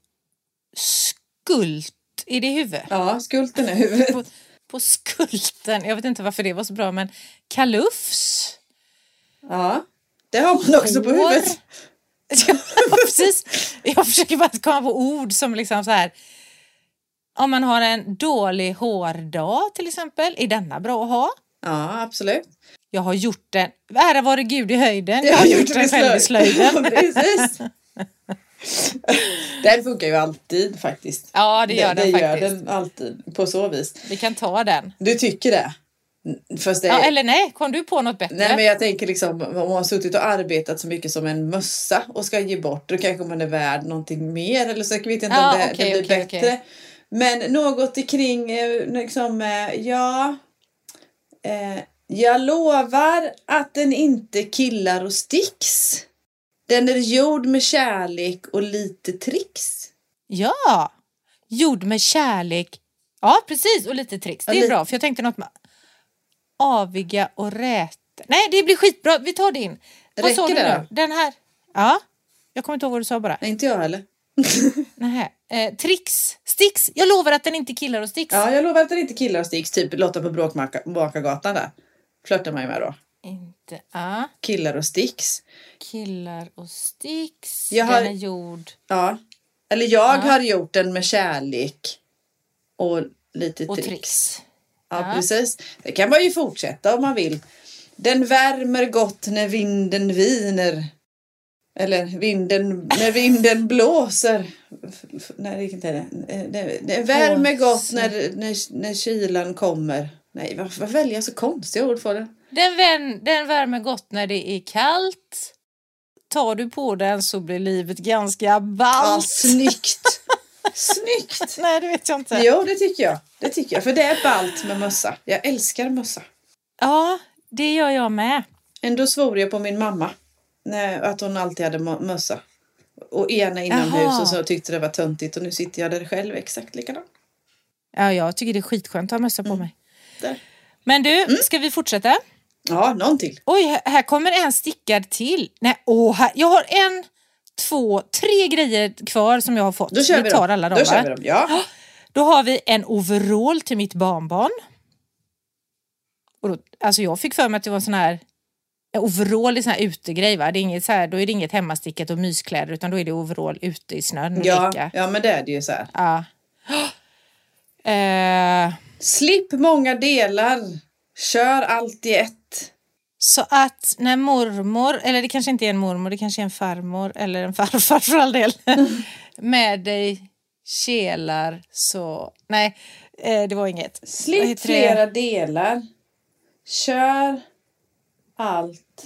C: skult? Är det huvud?
B: Ja, skulten är huvudet.
C: på, på skulten. Jag vet inte varför det var så bra, men kalufs.
B: Ja, det har man också Alltså, på
C: Hår.
B: huvudet.
C: Ja, precis. Jag försöker bara komma på ord som liksom så här. Om man har en dålig hårdag till exempel, är denna bra att ha?
B: Ja, absolut.
C: Jag har gjort den. Ära vare Gud i höjden.
B: Jag har gjort
C: den
B: det
C: själv i
B: med
C: slöjden.
B: Precis. Den funkar ju alltid faktiskt.
C: Ja, det gör den
B: det
C: faktiskt.
B: gör den alltid på så vis.
C: Vi kan ta den.
B: Du tycker det? Mm, Fast det
C: Ja, eller nej, kom du på något bättre?
B: Nej men jag tänker liksom om man har suttit och arbetat så mycket som en mössa och ska ge bort då kanske man är värd någonting mer eller så jag vet inte
C: Ja,
B: om det,
C: okej,
B: det blir
C: okej,
B: bättre.
C: okej.
B: Men något kring eh, liksom eh, ja eh, jag lovar att den inte killar och sticks. Den är gjord med kärlek och lite tricks.
C: Ja, gjord med kärlek. Ja, precis. Och lite tricks. Det
B: Ja,
C: är
B: lite-
C: bra, för jag tänkte något med aviga och räta. Nej, det blir skitbra. Vi tar din. Vad sa
B: Räcker
C: du
B: det
C: nu? Den här. Ja, jag kommer inte ihåg vad du sa bara.
B: Nej, inte jag heller.
C: Nähä. Eh, tricks. Sticks. Jag lovar att den inte killar och sticks.
B: Ja, jag lovar att den inte killar och sticks. Typ Lotta på Bråkmakargatan där. Flörtar man ju med då.
C: Inte. Ja.
B: Killar och sticks.
C: Killar och sticks.
B: Jag har-
C: Den är gjord.
B: Ja. Eller jag har gjort den med kärlek. Och lite
C: Och
B: tricks.
C: tricks.
B: Ja,
C: Ja.
B: precis. Det kan man ju fortsätta om man vill. Den värmer gott när vinden viner. Eller vinden, när vinden blåser. F- f- Nej, det gick inte. Eh, det- Det värmer gott när, när, när kylan kommer. Nej, varför väljer jag så konstiga ord för det?
C: Den, vän, den värmer gott när det är kallt. Tar du på den så blir livet ganska
B: Ja,
C: ballt.
B: snyggt! Snyggt!
C: Nej, det vet jag inte.
B: Jo, det tycker jag. Det tycker jag. För det är ballt med mössa. Jag älskar mössa.
C: Ja, det gör jag med.
B: Ändå svor jag på min mamma när- att hon alltid hade mö- mössa. Och ena inomhus
C: Jaha.
B: och så tyckte det var töntigt och nu sitter jag där själv exakt likadant.
C: Ja, jag tycker det är skitskönt att ha mössa på mig.
B: Mm. Där. Mm.
C: Men du, ska vi fortsätta?
B: Ja, någon till.
C: Oj, här- här kommer en stickad till. Nej, åh, här, jag har en, två, tre grejer kvar som jag har fått.
B: Då kör vi,
C: vi tar
B: dem.
C: alla dem,
B: Då
C: va?
B: kör vi dem. Ja.
C: Då har vi en overall till mitt barnbarn. Och då, alltså jag fick för mig att det var en sån här en overall är sån här utegrej va? Det är inget så här, då är det inget hemmastickat och myskläder utan då är det overall ute i snön och
B: Ja,
C: leka.
B: ja, men det är det ju så här.
C: Ja. Eh,
B: Slipp många delar. Kör allt i ett.
C: så att när mormor, eller det kanske inte är en mormor, det kanske är en farmor eller en farfar för all del, med dig kelar så... Nej, eh, det var inget. Vad
B: Slipp
C: heter det?
B: flera delar. Kör allt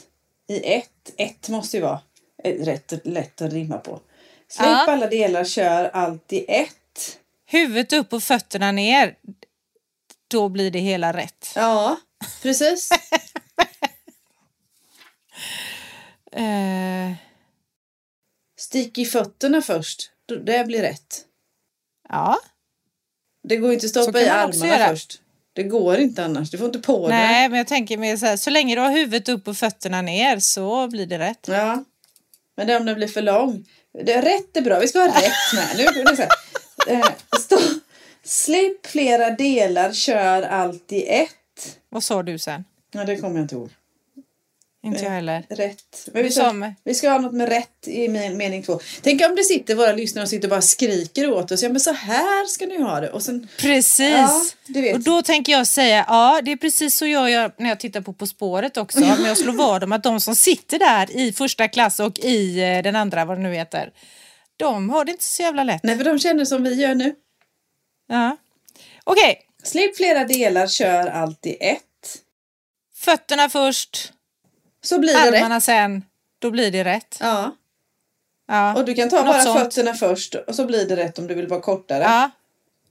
B: i ett. Ett måste ju vara eh, rätt lätt att rimma på. Slipp
C: Ja.
B: alla delar, kör allt i ett.
C: Huvudet upp och fötterna ner. Då blir det hela rätt.
B: Ja, precis.
C: Eh,
B: Stick i fötterna först. Då- Det blir rätt.
C: ja,
B: Det går inte att
C: Så
B: stoppa
C: kan
B: i
C: man också
B: armarna
C: göra.
B: först. Det går inte annars. Du får inte på
C: nej men jag tänker mer så här, så länge du har huvudet upp och fötterna ner så blir det rätt.
B: det. Ja. Men det är om den blir för lång. Det, rätt är bra. Vi ska ha rätt med. Nu går det så här. Eh, Stå. Slipp flera delar, kör allt i ett.
C: Vad sa du sen?
B: Ja, det kommer jag inte ihåg.
C: Inte jag heller.
B: Rätt. Men vi,
C: Du sa
B: ska,
C: med.
B: vi ska ha något med rätt i men- mening två. Tänk om det sitter våra lyssnare och sitter och bara skriker åt oss. Ja, men så här ska ni ha det. Och sen Ja,
C: Precis!
B: du vet.
C: och då tänker jag säga, ja det är precis så jag gör när jag tittar på På spåret också. Men jag slår vad om att de som sitter där i första klass och i eh, den andra, vad det nu heter, de har det inte så jävla lätt.
B: Nej, för de känner som vi gör nu.
C: Ja. Okej,
B: Slipp flera delar, kör allt i ett.
C: fötterna först,
B: Så blir det rätt.
C: armarna sen. Då blir det rätt.
B: Ja.
C: Ja.
B: Och du kan ta
C: Något
B: bara
C: sånt.
B: fötterna först och så blir det rätt om du vill vara kortare.
C: Ja.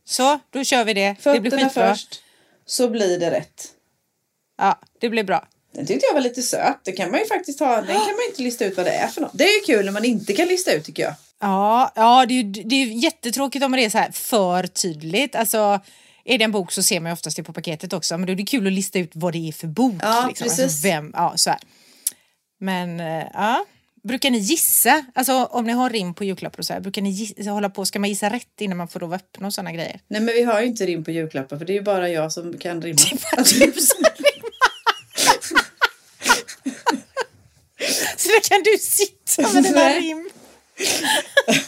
C: Så, då kör vi det. det blir
B: fötterna
C: skitbra.
B: först, så blir det rätt.
C: Ja, det blir bra.
B: Den tyckte jag var lite söt. Det kan man ju faktiskt ha. Den kan man ju inte lista ut vad det är för något. Det är ju kul när man inte kan lista ut tycker jag.
C: Ja, ja det, är ju, det är ju jättetråkigt om det är så här för tydligt. Alltså, är det en bok så ser man ju oftast det på paketet också. Men då är det kul att lista ut vad det är för bok.
B: Ja, precis.
C: Alltså vem, ja, så här. Men eh, ja. Brukar ni gissa? Alltså om ni har rim på julklappar och så här, brukar ni gissa, hålla på? Ska man gissa rätt innan man får lov att öppna och sådana grejer?
B: Nej men vi har ju inte rim på julklappar för det är ju bara jag som kan rimma. typ
C: Så där kan du sitta med dina
B: Nej.
C: rim.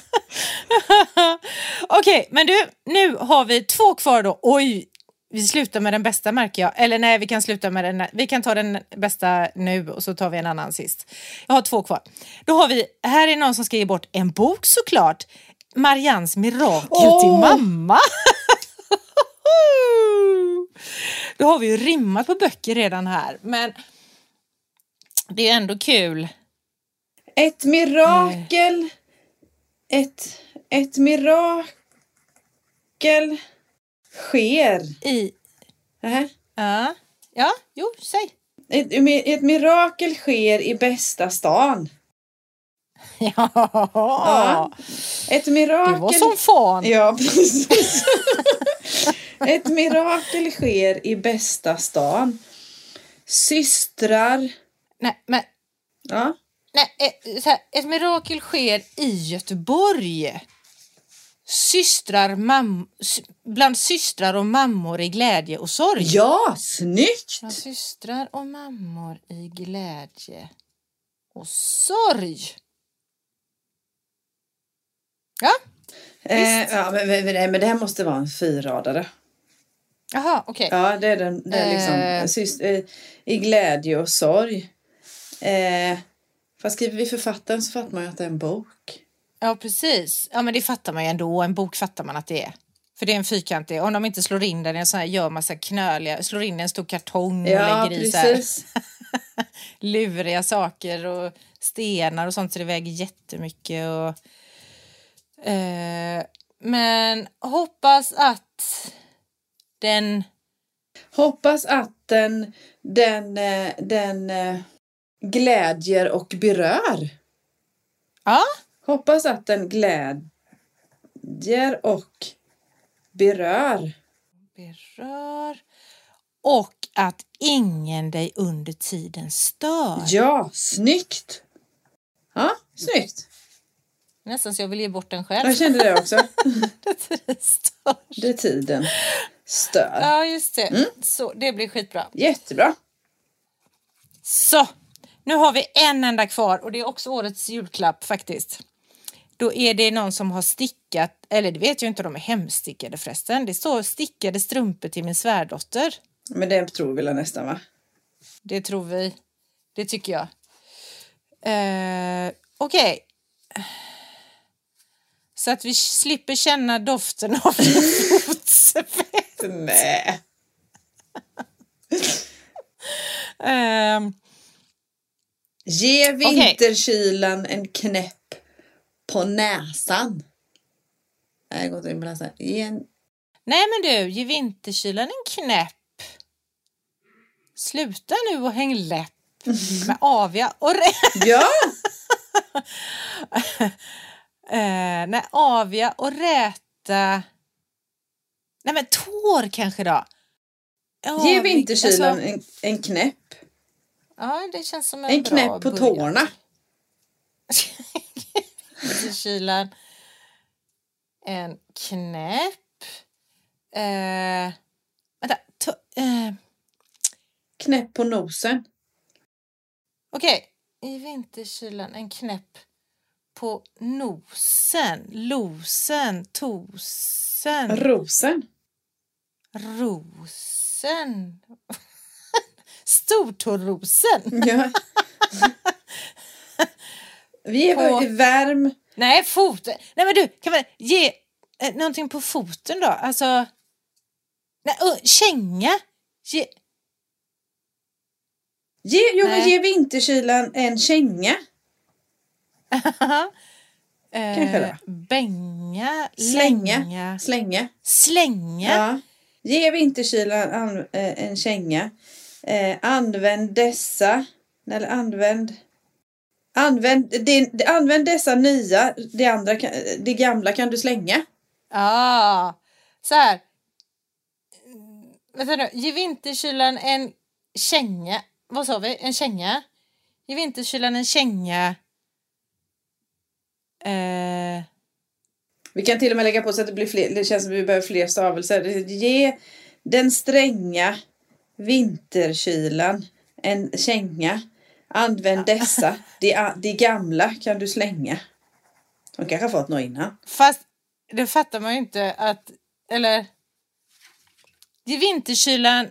C: Okej, men du, nu har vi två kvar då. Oj, vi slutar med den bästa märker jag. Eller nej, vi kan sluta med den. Vi kan ta den bästa nu och så tar vi en annan sist. Jag har två kvar. Då har vi, här är någon som ska ge bort en bok såklart. Marians mirakel till
B: Åh!
C: mamma. Då har vi ju rimmat på böcker redan här, men det är ändå kul.
B: Ett mirakel. Ett, ett mirakel sker.
C: I,
B: Nähä.
C: ja, ja, jo, säg.
B: Ett, ett mirakel sker i bästa stan.
C: Ja, ja.
B: Ett
C: det
B: mirakel.
C: var som fan.
B: Ja, precis. Ett mirakel sker i bästa stan. Systrar.
C: Nej, men
B: Ja.
C: Nej, eh, så här, ett mirakel sker i Göteborg. Systrar, mam, sy- bland systrar och mammor i glädje och sorg.
B: ja, snyggt!
C: Bland systrar och mammor i glädje och sorg. Ja,
B: Eh, ja, men, men, nej, men det här måste vara en fyradare.
C: jaha, okej.
B: Ja, det är den. Det är liksom,
C: Eh.
B: syst, eh, I glädje och sorg. Eh, fast skriver vi författaren så fattar man ju att det är en bok.
C: Ja, precis. Ja, men det fattar man ju ändå. En bok fattar man att det är. För det är en fyrkantig. Om de inte slår in den i en sån här, gör massa knöliga, slår in en stor kartong och
B: Ja,
C: lägger i så här
B: precis.
C: luriga saker och stenar och sånt så det väger jättemycket. Och, eh, men hoppas att den...
B: Hoppas att den, den, eh, den eh, glädjer och berör.
C: Ja,
B: Hoppas att den glädjer och berör.
C: berör. Och att ingen dig under tiden stör.
B: Ja, snyggt! Ja, snyggt.
C: Nästan så jag vill ge bort den själv.
B: Jag kände det också.
C: Stör.
B: Det är tiden stör.
C: Ja, just det. Så det blir skitbra.
B: Jättebra.
C: Så, nu har vi en enda kvar och det är också årets julklapp faktiskt. Då är det någon som har stickat, eller det vet jag inte om de är hemstickade förresten. Det står stickade strumpor till min svärdotter.
B: Men det tror vi väl nästan va?
C: Det tror vi. Det tycker jag. Eh, Okej. Så att vi slipper känna doften av fotsvett.
B: Nej.
C: Ehm,
B: Ge vinterkylan en knäpp på näsan. Nej, det går inte in på näsan. Ge en...
C: Nej men du, ge vinterkylan en knäpp. Sluta nu och häng läpp med aviga och rä-
B: Ja!
C: eh, nej, aviga och räta. Nej men tår kanske då. Ja,
B: Ge
C: vi-
B: vinterkylan
C: alltså,
B: en, en knäpp.
C: ja, det känns som en,
B: En
C: bra
B: knäpp på
C: början.
B: tårna.
C: vinterkylan. En knäpp. Eh, vänta. T- eh,
B: Knäpp på nosen.
C: Okej, i vinterkylan en knäpp på nosen, losen, tosen,
B: Rosen.
C: rosen. Stortårosen!
B: Ja. Vi är
C: På-
B: på... värm.
C: Nej, foten. Nej, men du, kan man ge eh, någonting på foten då? Alltså... Nej, ö, känga. Ge,
B: Ge, jo, men
C: Nej.
B: ge vinterkylan en känga. Kanske
C: eh, bänga.
B: Slänga.
C: länga,
B: Slänga.
C: Slänga.
B: Ja. Ge vinterkylan an, eh, en känga. Eh, använd dessa. Eller använd... Använd, det, använd dessa nya. Det, andra, kan- det gamla kan du slänga.
C: Ja, Ah, så här. Mm, Vänta nu, ge vinterkylan en känga. Vad sa vi? En känga? Ge vinterkylan en känga. Eh,
B: Vi kan till och med lägga på så att det blir fler. Det känns som vi behöver fler stavelser. Ge den stränga vinterkylan en känga. Använd dessa. De, a- de gamla kan du slänga. De kanske har fått något innan.
C: fast det fattar man ju inte att... Eller? i vinterkylan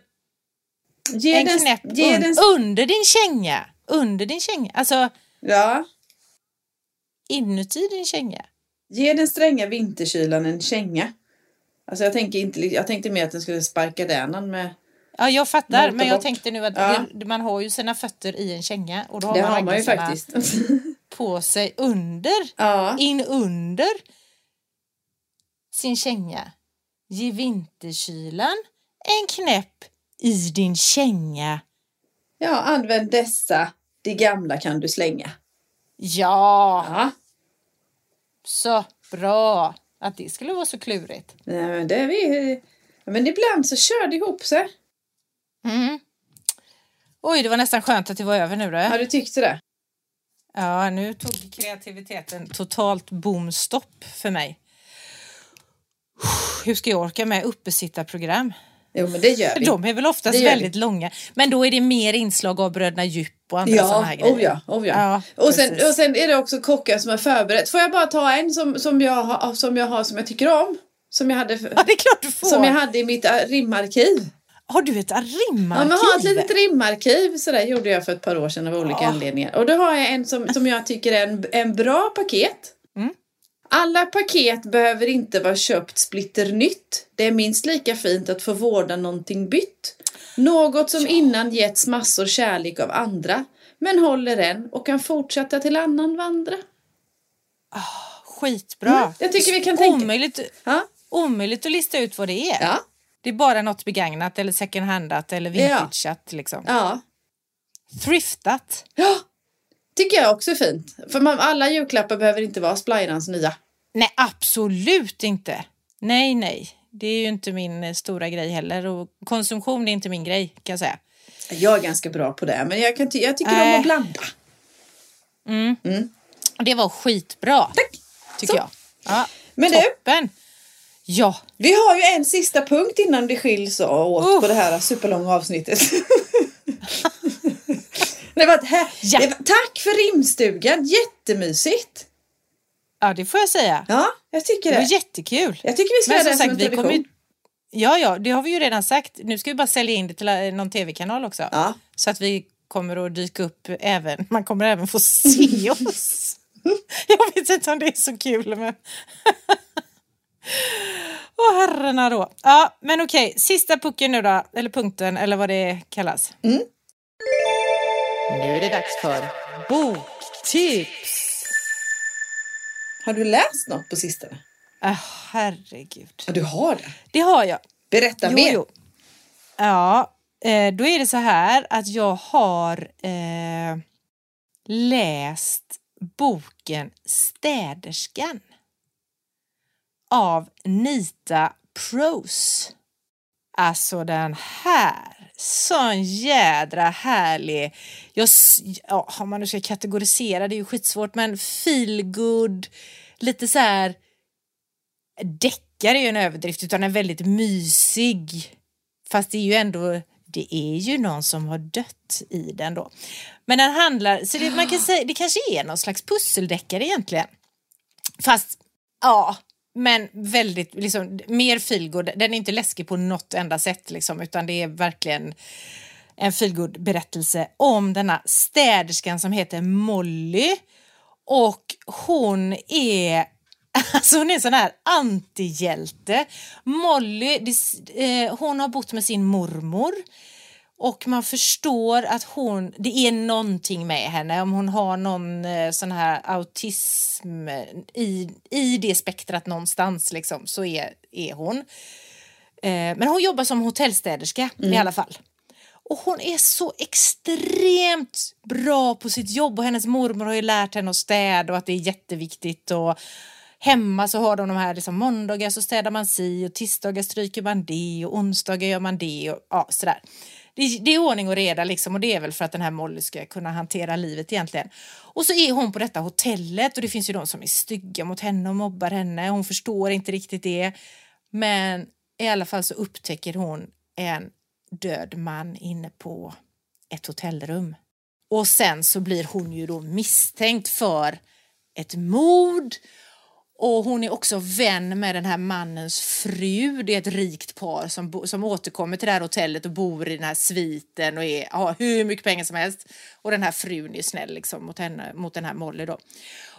B: Ge
C: en
B: den-
C: knäpp
B: ge
C: un-
B: den,
C: under din känga. Under din känga. Alltså
B: ja,
C: inuti din känga.
B: ge den stränga vinterkylan en känga. Alltså jag, tänker inte, jag tänkte mer att den skulle sparka dänan med...
C: Ja, jag fattar.
B: Mota
C: Men jag
B: bort.
C: tänkte nu att
B: Ja.
C: det- man har ju sina fötter i en känga. Och då har
B: det
C: man,
B: har man ju
C: raggarna
B: faktiskt.
C: på sig under.
B: ja.
C: In under sin känga. Ge vinterkylan en knäpp i din känga.
B: ja, använd dessa. Det gamla kan du slänga.
C: Ja,
B: Ja,
C: så bra. Att det skulle vara så klurigt.
B: nej, men det är vi... ja, Men ibland så kör det ihop sig.
C: Mm. Oj, det var nästan skönt att det var över nu då.
B: Har du tyckt det?
C: Ja, nu tog kreativiteten totalt boomstopp för mig. Hur ska jag orka med uppesittarprogram?
B: Jo, men det gör vi.
C: De är väl oftast
B: Det gör vi.
C: väldigt långa, men då är det mer inslag av Bröderna Djup och andra sådana
B: Ja,
C: här
B: oh
C: grejer.
B: ja, oh ja.
C: Ja,
B: och, sen,
C: precis.
B: och sen är det också kockar som har förberett. Får jag bara ta en som, som, jag, har, som jag har som jag tycker om? Som jag hade,
C: Ja, det är klart du får.
B: som jag hade i mitt äh, rimarkiv.
C: Har du ett rimarkiv?
B: Ja, men ha ett litet rimarkiv. Så där gjorde jag för ett par år sedan av olika
C: Ja.
B: anledningar. Och då har jag en som, som jag tycker är en, en bra paket.
C: Mm.
B: Alla paket behöver inte vara köpt splitternytt. Det är minst lika fint att få vårda någonting bytt. Något som innan getts massor kärlek av andra, men håller än och kan fortsätta till annan vandra.
C: Skitbra.
B: Mm, jag tycker vi kan tänka-
C: Omöjligt,
B: Ja,
C: omöjligt att lista ut vad det är.
B: ja,
C: Det är bara något begagnat eller second handat eller
B: Ja.
C: vintageat liksom.
B: ja.
C: Thriftat.
B: ja. Tycker jag också är fint. För man, alla julklappar behöver inte vara splajrans nya.
C: Nej, absolut inte. Nej, nej. Det är ju inte min eh, stora grej heller och konsumtion är inte min grej kan jag säga.
B: Jag är ganska bra på det, men jag, kan ty- jag tycker om
C: Nej.
B: att blanda.
C: Och Det var skitbra. Tack! Tycker
B: Så.
C: jag. Ja,
B: Men du,
C: toppen! Ja,
B: vi har ju en sista punkt innan det skiljs åt
C: Uff.
B: på det här superlånga avsnittet. det var ett här,
C: Ja.
B: det var, Eh, tack för rimstugan, jättemysigt.
C: ja, det får jag säga.
B: Ja, jag tycker
C: Det var
B: det.
C: jättekul.
B: Jag tycker vi ska
C: Men
B: göra
C: som
B: det som
C: sagt,
B: en
C: vi
B: tradition.
C: kommer ju... Ja, ja, det har vi ju redan sagt. Nu ska vi bara sälja in det till eh, någon tv-kanal också.
B: Ja.
C: Så att vi kommer att dyka upp även. Man kommer även få se oss. Jag vet inte om det är så kul, men... Åh, herrarna då. Ja, men okej. Sista pucken nu då, eller punkten, eller vad det kallas.
A: Nu är det dags för boktips.
B: Har du läst något på sistone?
C: Ah, herregud.
B: Ja, du har det.
C: Det har jag.
B: Berätta mer.
C: Ja, eh, då är det så här att jag har eh, läst boken Städerskan av Nita Prose. Alltså den här, sån jädra härlig. Jag, s- ja, om man nu ska kategorisera, det är ju skitsvårt, men feel good, lite så här deckare är ju en överdrift utan en väldigt mysig. Fast det är ju ändå, det är ju någon som har dött i den då. Men den handlar, så det, man kan säga, det kanske är någon slags pusseldeckare egentligen. Fast, ja, men väldigt, liksom mer feelgood. Den är inte läskig på något enda sätt liksom, utan det är verkligen en feelgood berättelse om denna städerskan som heter Molly. Och hon är Alltså hon är en sån här antihjälte. Molly, det, s- eh, hon har bott med sin mormor och man förstår att hon, det är någonting med henne om hon har någon eh, sån här autism eh, i, i det spektrat någonstans liksom så är, är hon. Eh, men hon jobbar som hotellstäderska i alla fall. Och hon är så extremt bra på sitt jobb och hennes mormor har ju lärt henne att städa och att det är jätteviktigt. Och hemma så har de de här liksom, måndagar så städar man si och tisdagar stryker man det och onsdagar gör man det och ja, sådär. Det, är- det är ordning och reda liksom och det är väl för att den här Molly ska kunna hantera livet egentligen. Och så är hon på detta hotellet och det finns ju de som är stygga mot henne och mobbar henne. Hon förstår inte riktigt det. Men i alla fall så upptäcker hon en död man inne på ett hotellrum. Och sen så blir hon ju då misstänkt för ett mord Och hon är också vän med den här mannens fru. Det är ett rikt par som, bo, som återkommer till det här hotellet och bor i den här sviten och är, har hur mycket pengar som helst. Och den här frun är snäll liksom mot, henne, mot den här Molly då.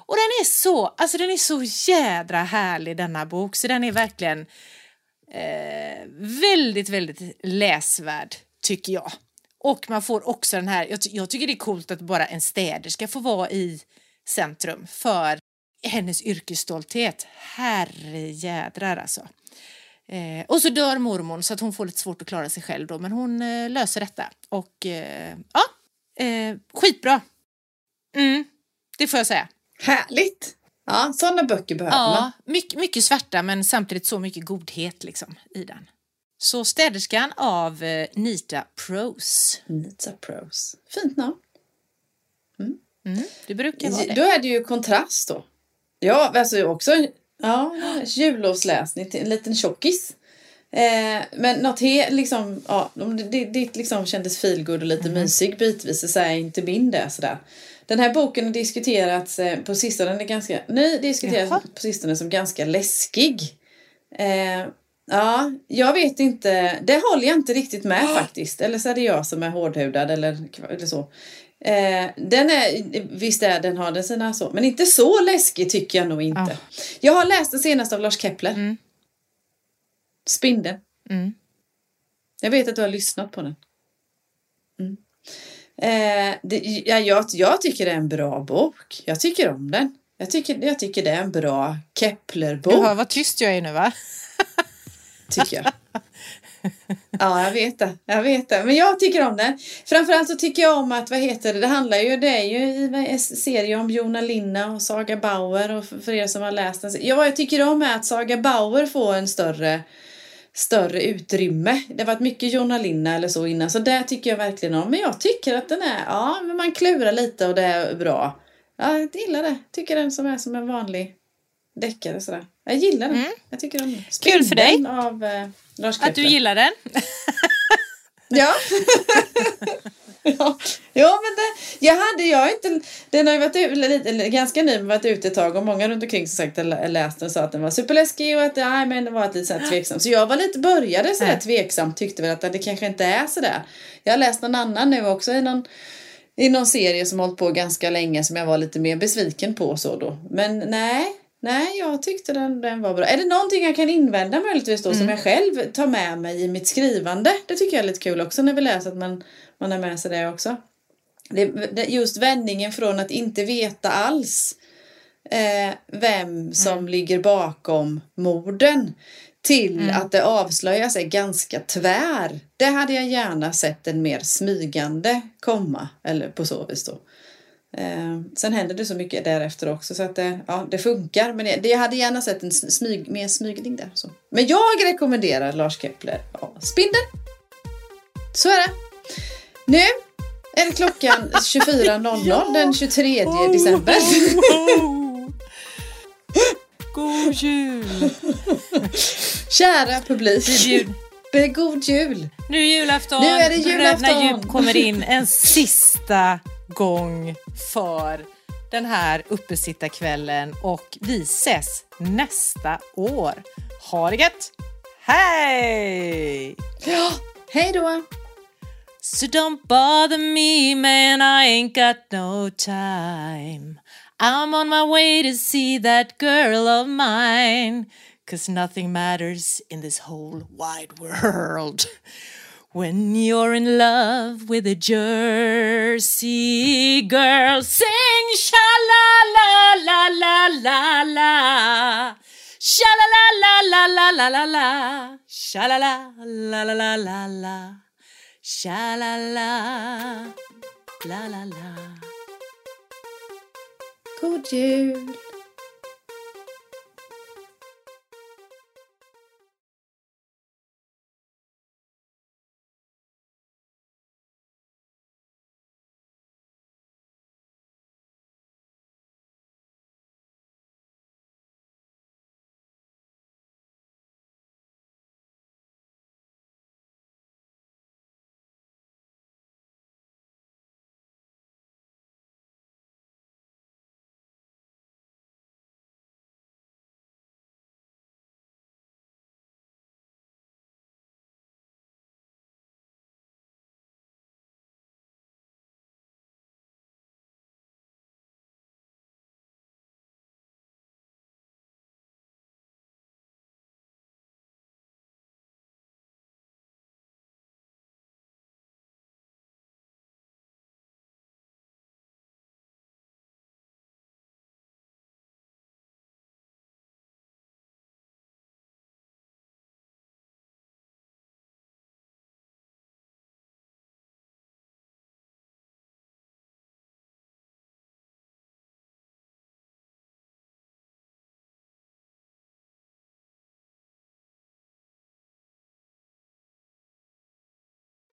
C: Och den är så, alltså den är så jädra härlig denna bok. Så den är verkligen eh, väldigt, väldigt läsvärd tycker jag. Och man får också den här, jag, ty- jag tycker det är coolt att bara en städerska får vara i centrum för hennes yrkesstolthet. Herrejädrar alltså. Eh, och så dör mormor så att hon får lite svårt att klara sig själv då, men hon eh, löser detta. Och eh, ja, eh, skitbra. Mm, det får jag säga.
B: Härligt! Ja, sådana böcker behöver man.
C: Ja, mycket, mycket svärta men samtidigt så mycket godhet liksom i den. Så städerskan av eh, Nita Prose.
B: Nita Prose. Fint namn.
C: Mm, det brukar vara det.
B: Då är det ju kontrast då. Ja, alltså också en- ja, jullovsläsning, till en liten tjockis. Eh, men något he, liksom, ja, om det- det, det liksom kändes feelgood och lite
C: Mm.
B: mysig bitvis, så är inte min det sådär. Den här boken har diskuterats eh, på sistone, den är ganska ny, diskuterats
C: Jaha.
B: på sistone som ganska läskig. Eh, ja, jag vet inte, det håller jag inte riktigt med faktiskt. Eller så är det jag som är hårdhudad eller, eller så. Eh, den är, visst är den har den sina så, men inte så läskig tycker jag nog inte.
C: Ah.
B: Jag har läst den senaste av Lars Kepler.
C: Mm.
B: Spindeln.
C: Mm.
B: Jag vet att du har lyssnat på den. Mm. Eh, det, ja, jag, jag tycker det är en bra bok. Jag tycker om den. Jag tycker, jag tycker det är en bra Kepler-bok.
C: Du hör vad tyst jag är nu va?
B: tycker jag. Ja, jag vet det. Jag vet det. Men jag tycker om den. Framförallt så tycker jag om att, vad heter det, det handlar ju, det är ju i en serie om Jona Linna och Saga Bauer och för- för er som har läst den. Ja, vad jag tycker om är att Saga Bauer får en större större utrymme. Det har varit mycket Jonna Linna eller så innan, så det tycker jag verkligen om. Men jag tycker att den är, ja, men man klurar lite och det är bra. Ja, jag gillar det. Tycker den som är som en vanlig deckare sådär. Jag gillar den. Jag tycker om den.
C: Mm. Kul för dig.
B: Spindeln av eh, Lars
C: Att du
B: Kepler.
C: gillar den.
B: Ja. ja. ja, men det, jag hade, jag har inte, den har ju varit ut, eller lite, eller ganska ny, men varit ute ett tag och många runt omkring som sagt lä- läste den och sa att den var superläskig och att nej, men den var lite så här tveksam. Så jag var lite, började så här
C: Nej.
B: tveksam, tyckte väl att det kanske inte är så där. Jag har läst någon annan nu också i någon i någon serie som hållit på ganska länge som jag var lite mer besviken på så då. Men nej, nej, jag tyckte den, den var bra. Är det någonting jag kan invända möjligtvis då som jag själv tar med mig i mitt skrivande? Det tycker jag är lite kul också när vi läser att man, man har med sig det också. Det, det, just vändningen från att inte veta alls eh, vem som ligger bakom morden till att det avslöjas är ganska tvär. Det hade jag gärna sett en mer smygande komma, eller på så vis då. Eh, sen händer det så mycket därefter också så att det, ja, det funkar. Men det, det, jag hade gärna sett en sm- smyg, mer smygning där. Så. Men jag rekommenderar Lars Kepler ja, Spindeln. Så är det. Nu är det klockan 24.00 den 23 december.
C: Oh, God jul!
B: Kära publik.
C: Det är jul.
B: Be- God jul.
C: Nu är julafton.
B: Nu är det julafton.
C: Bröderna Djup kommer in en sista gång för den här uppesittarkvällen och vi ses nästa år. Ha det gött! Hej!
B: Hej då.
C: So don't bother me, man, I ain't got no time. I'm on my way to see that girl of mine. Cause nothing matters in this whole wide world. When you're in love with a Jersey girl, sing sha la la la la la la. Sha la la la la la la la. Sha la la la la la la la. Sha la la la la la.
B: God jul.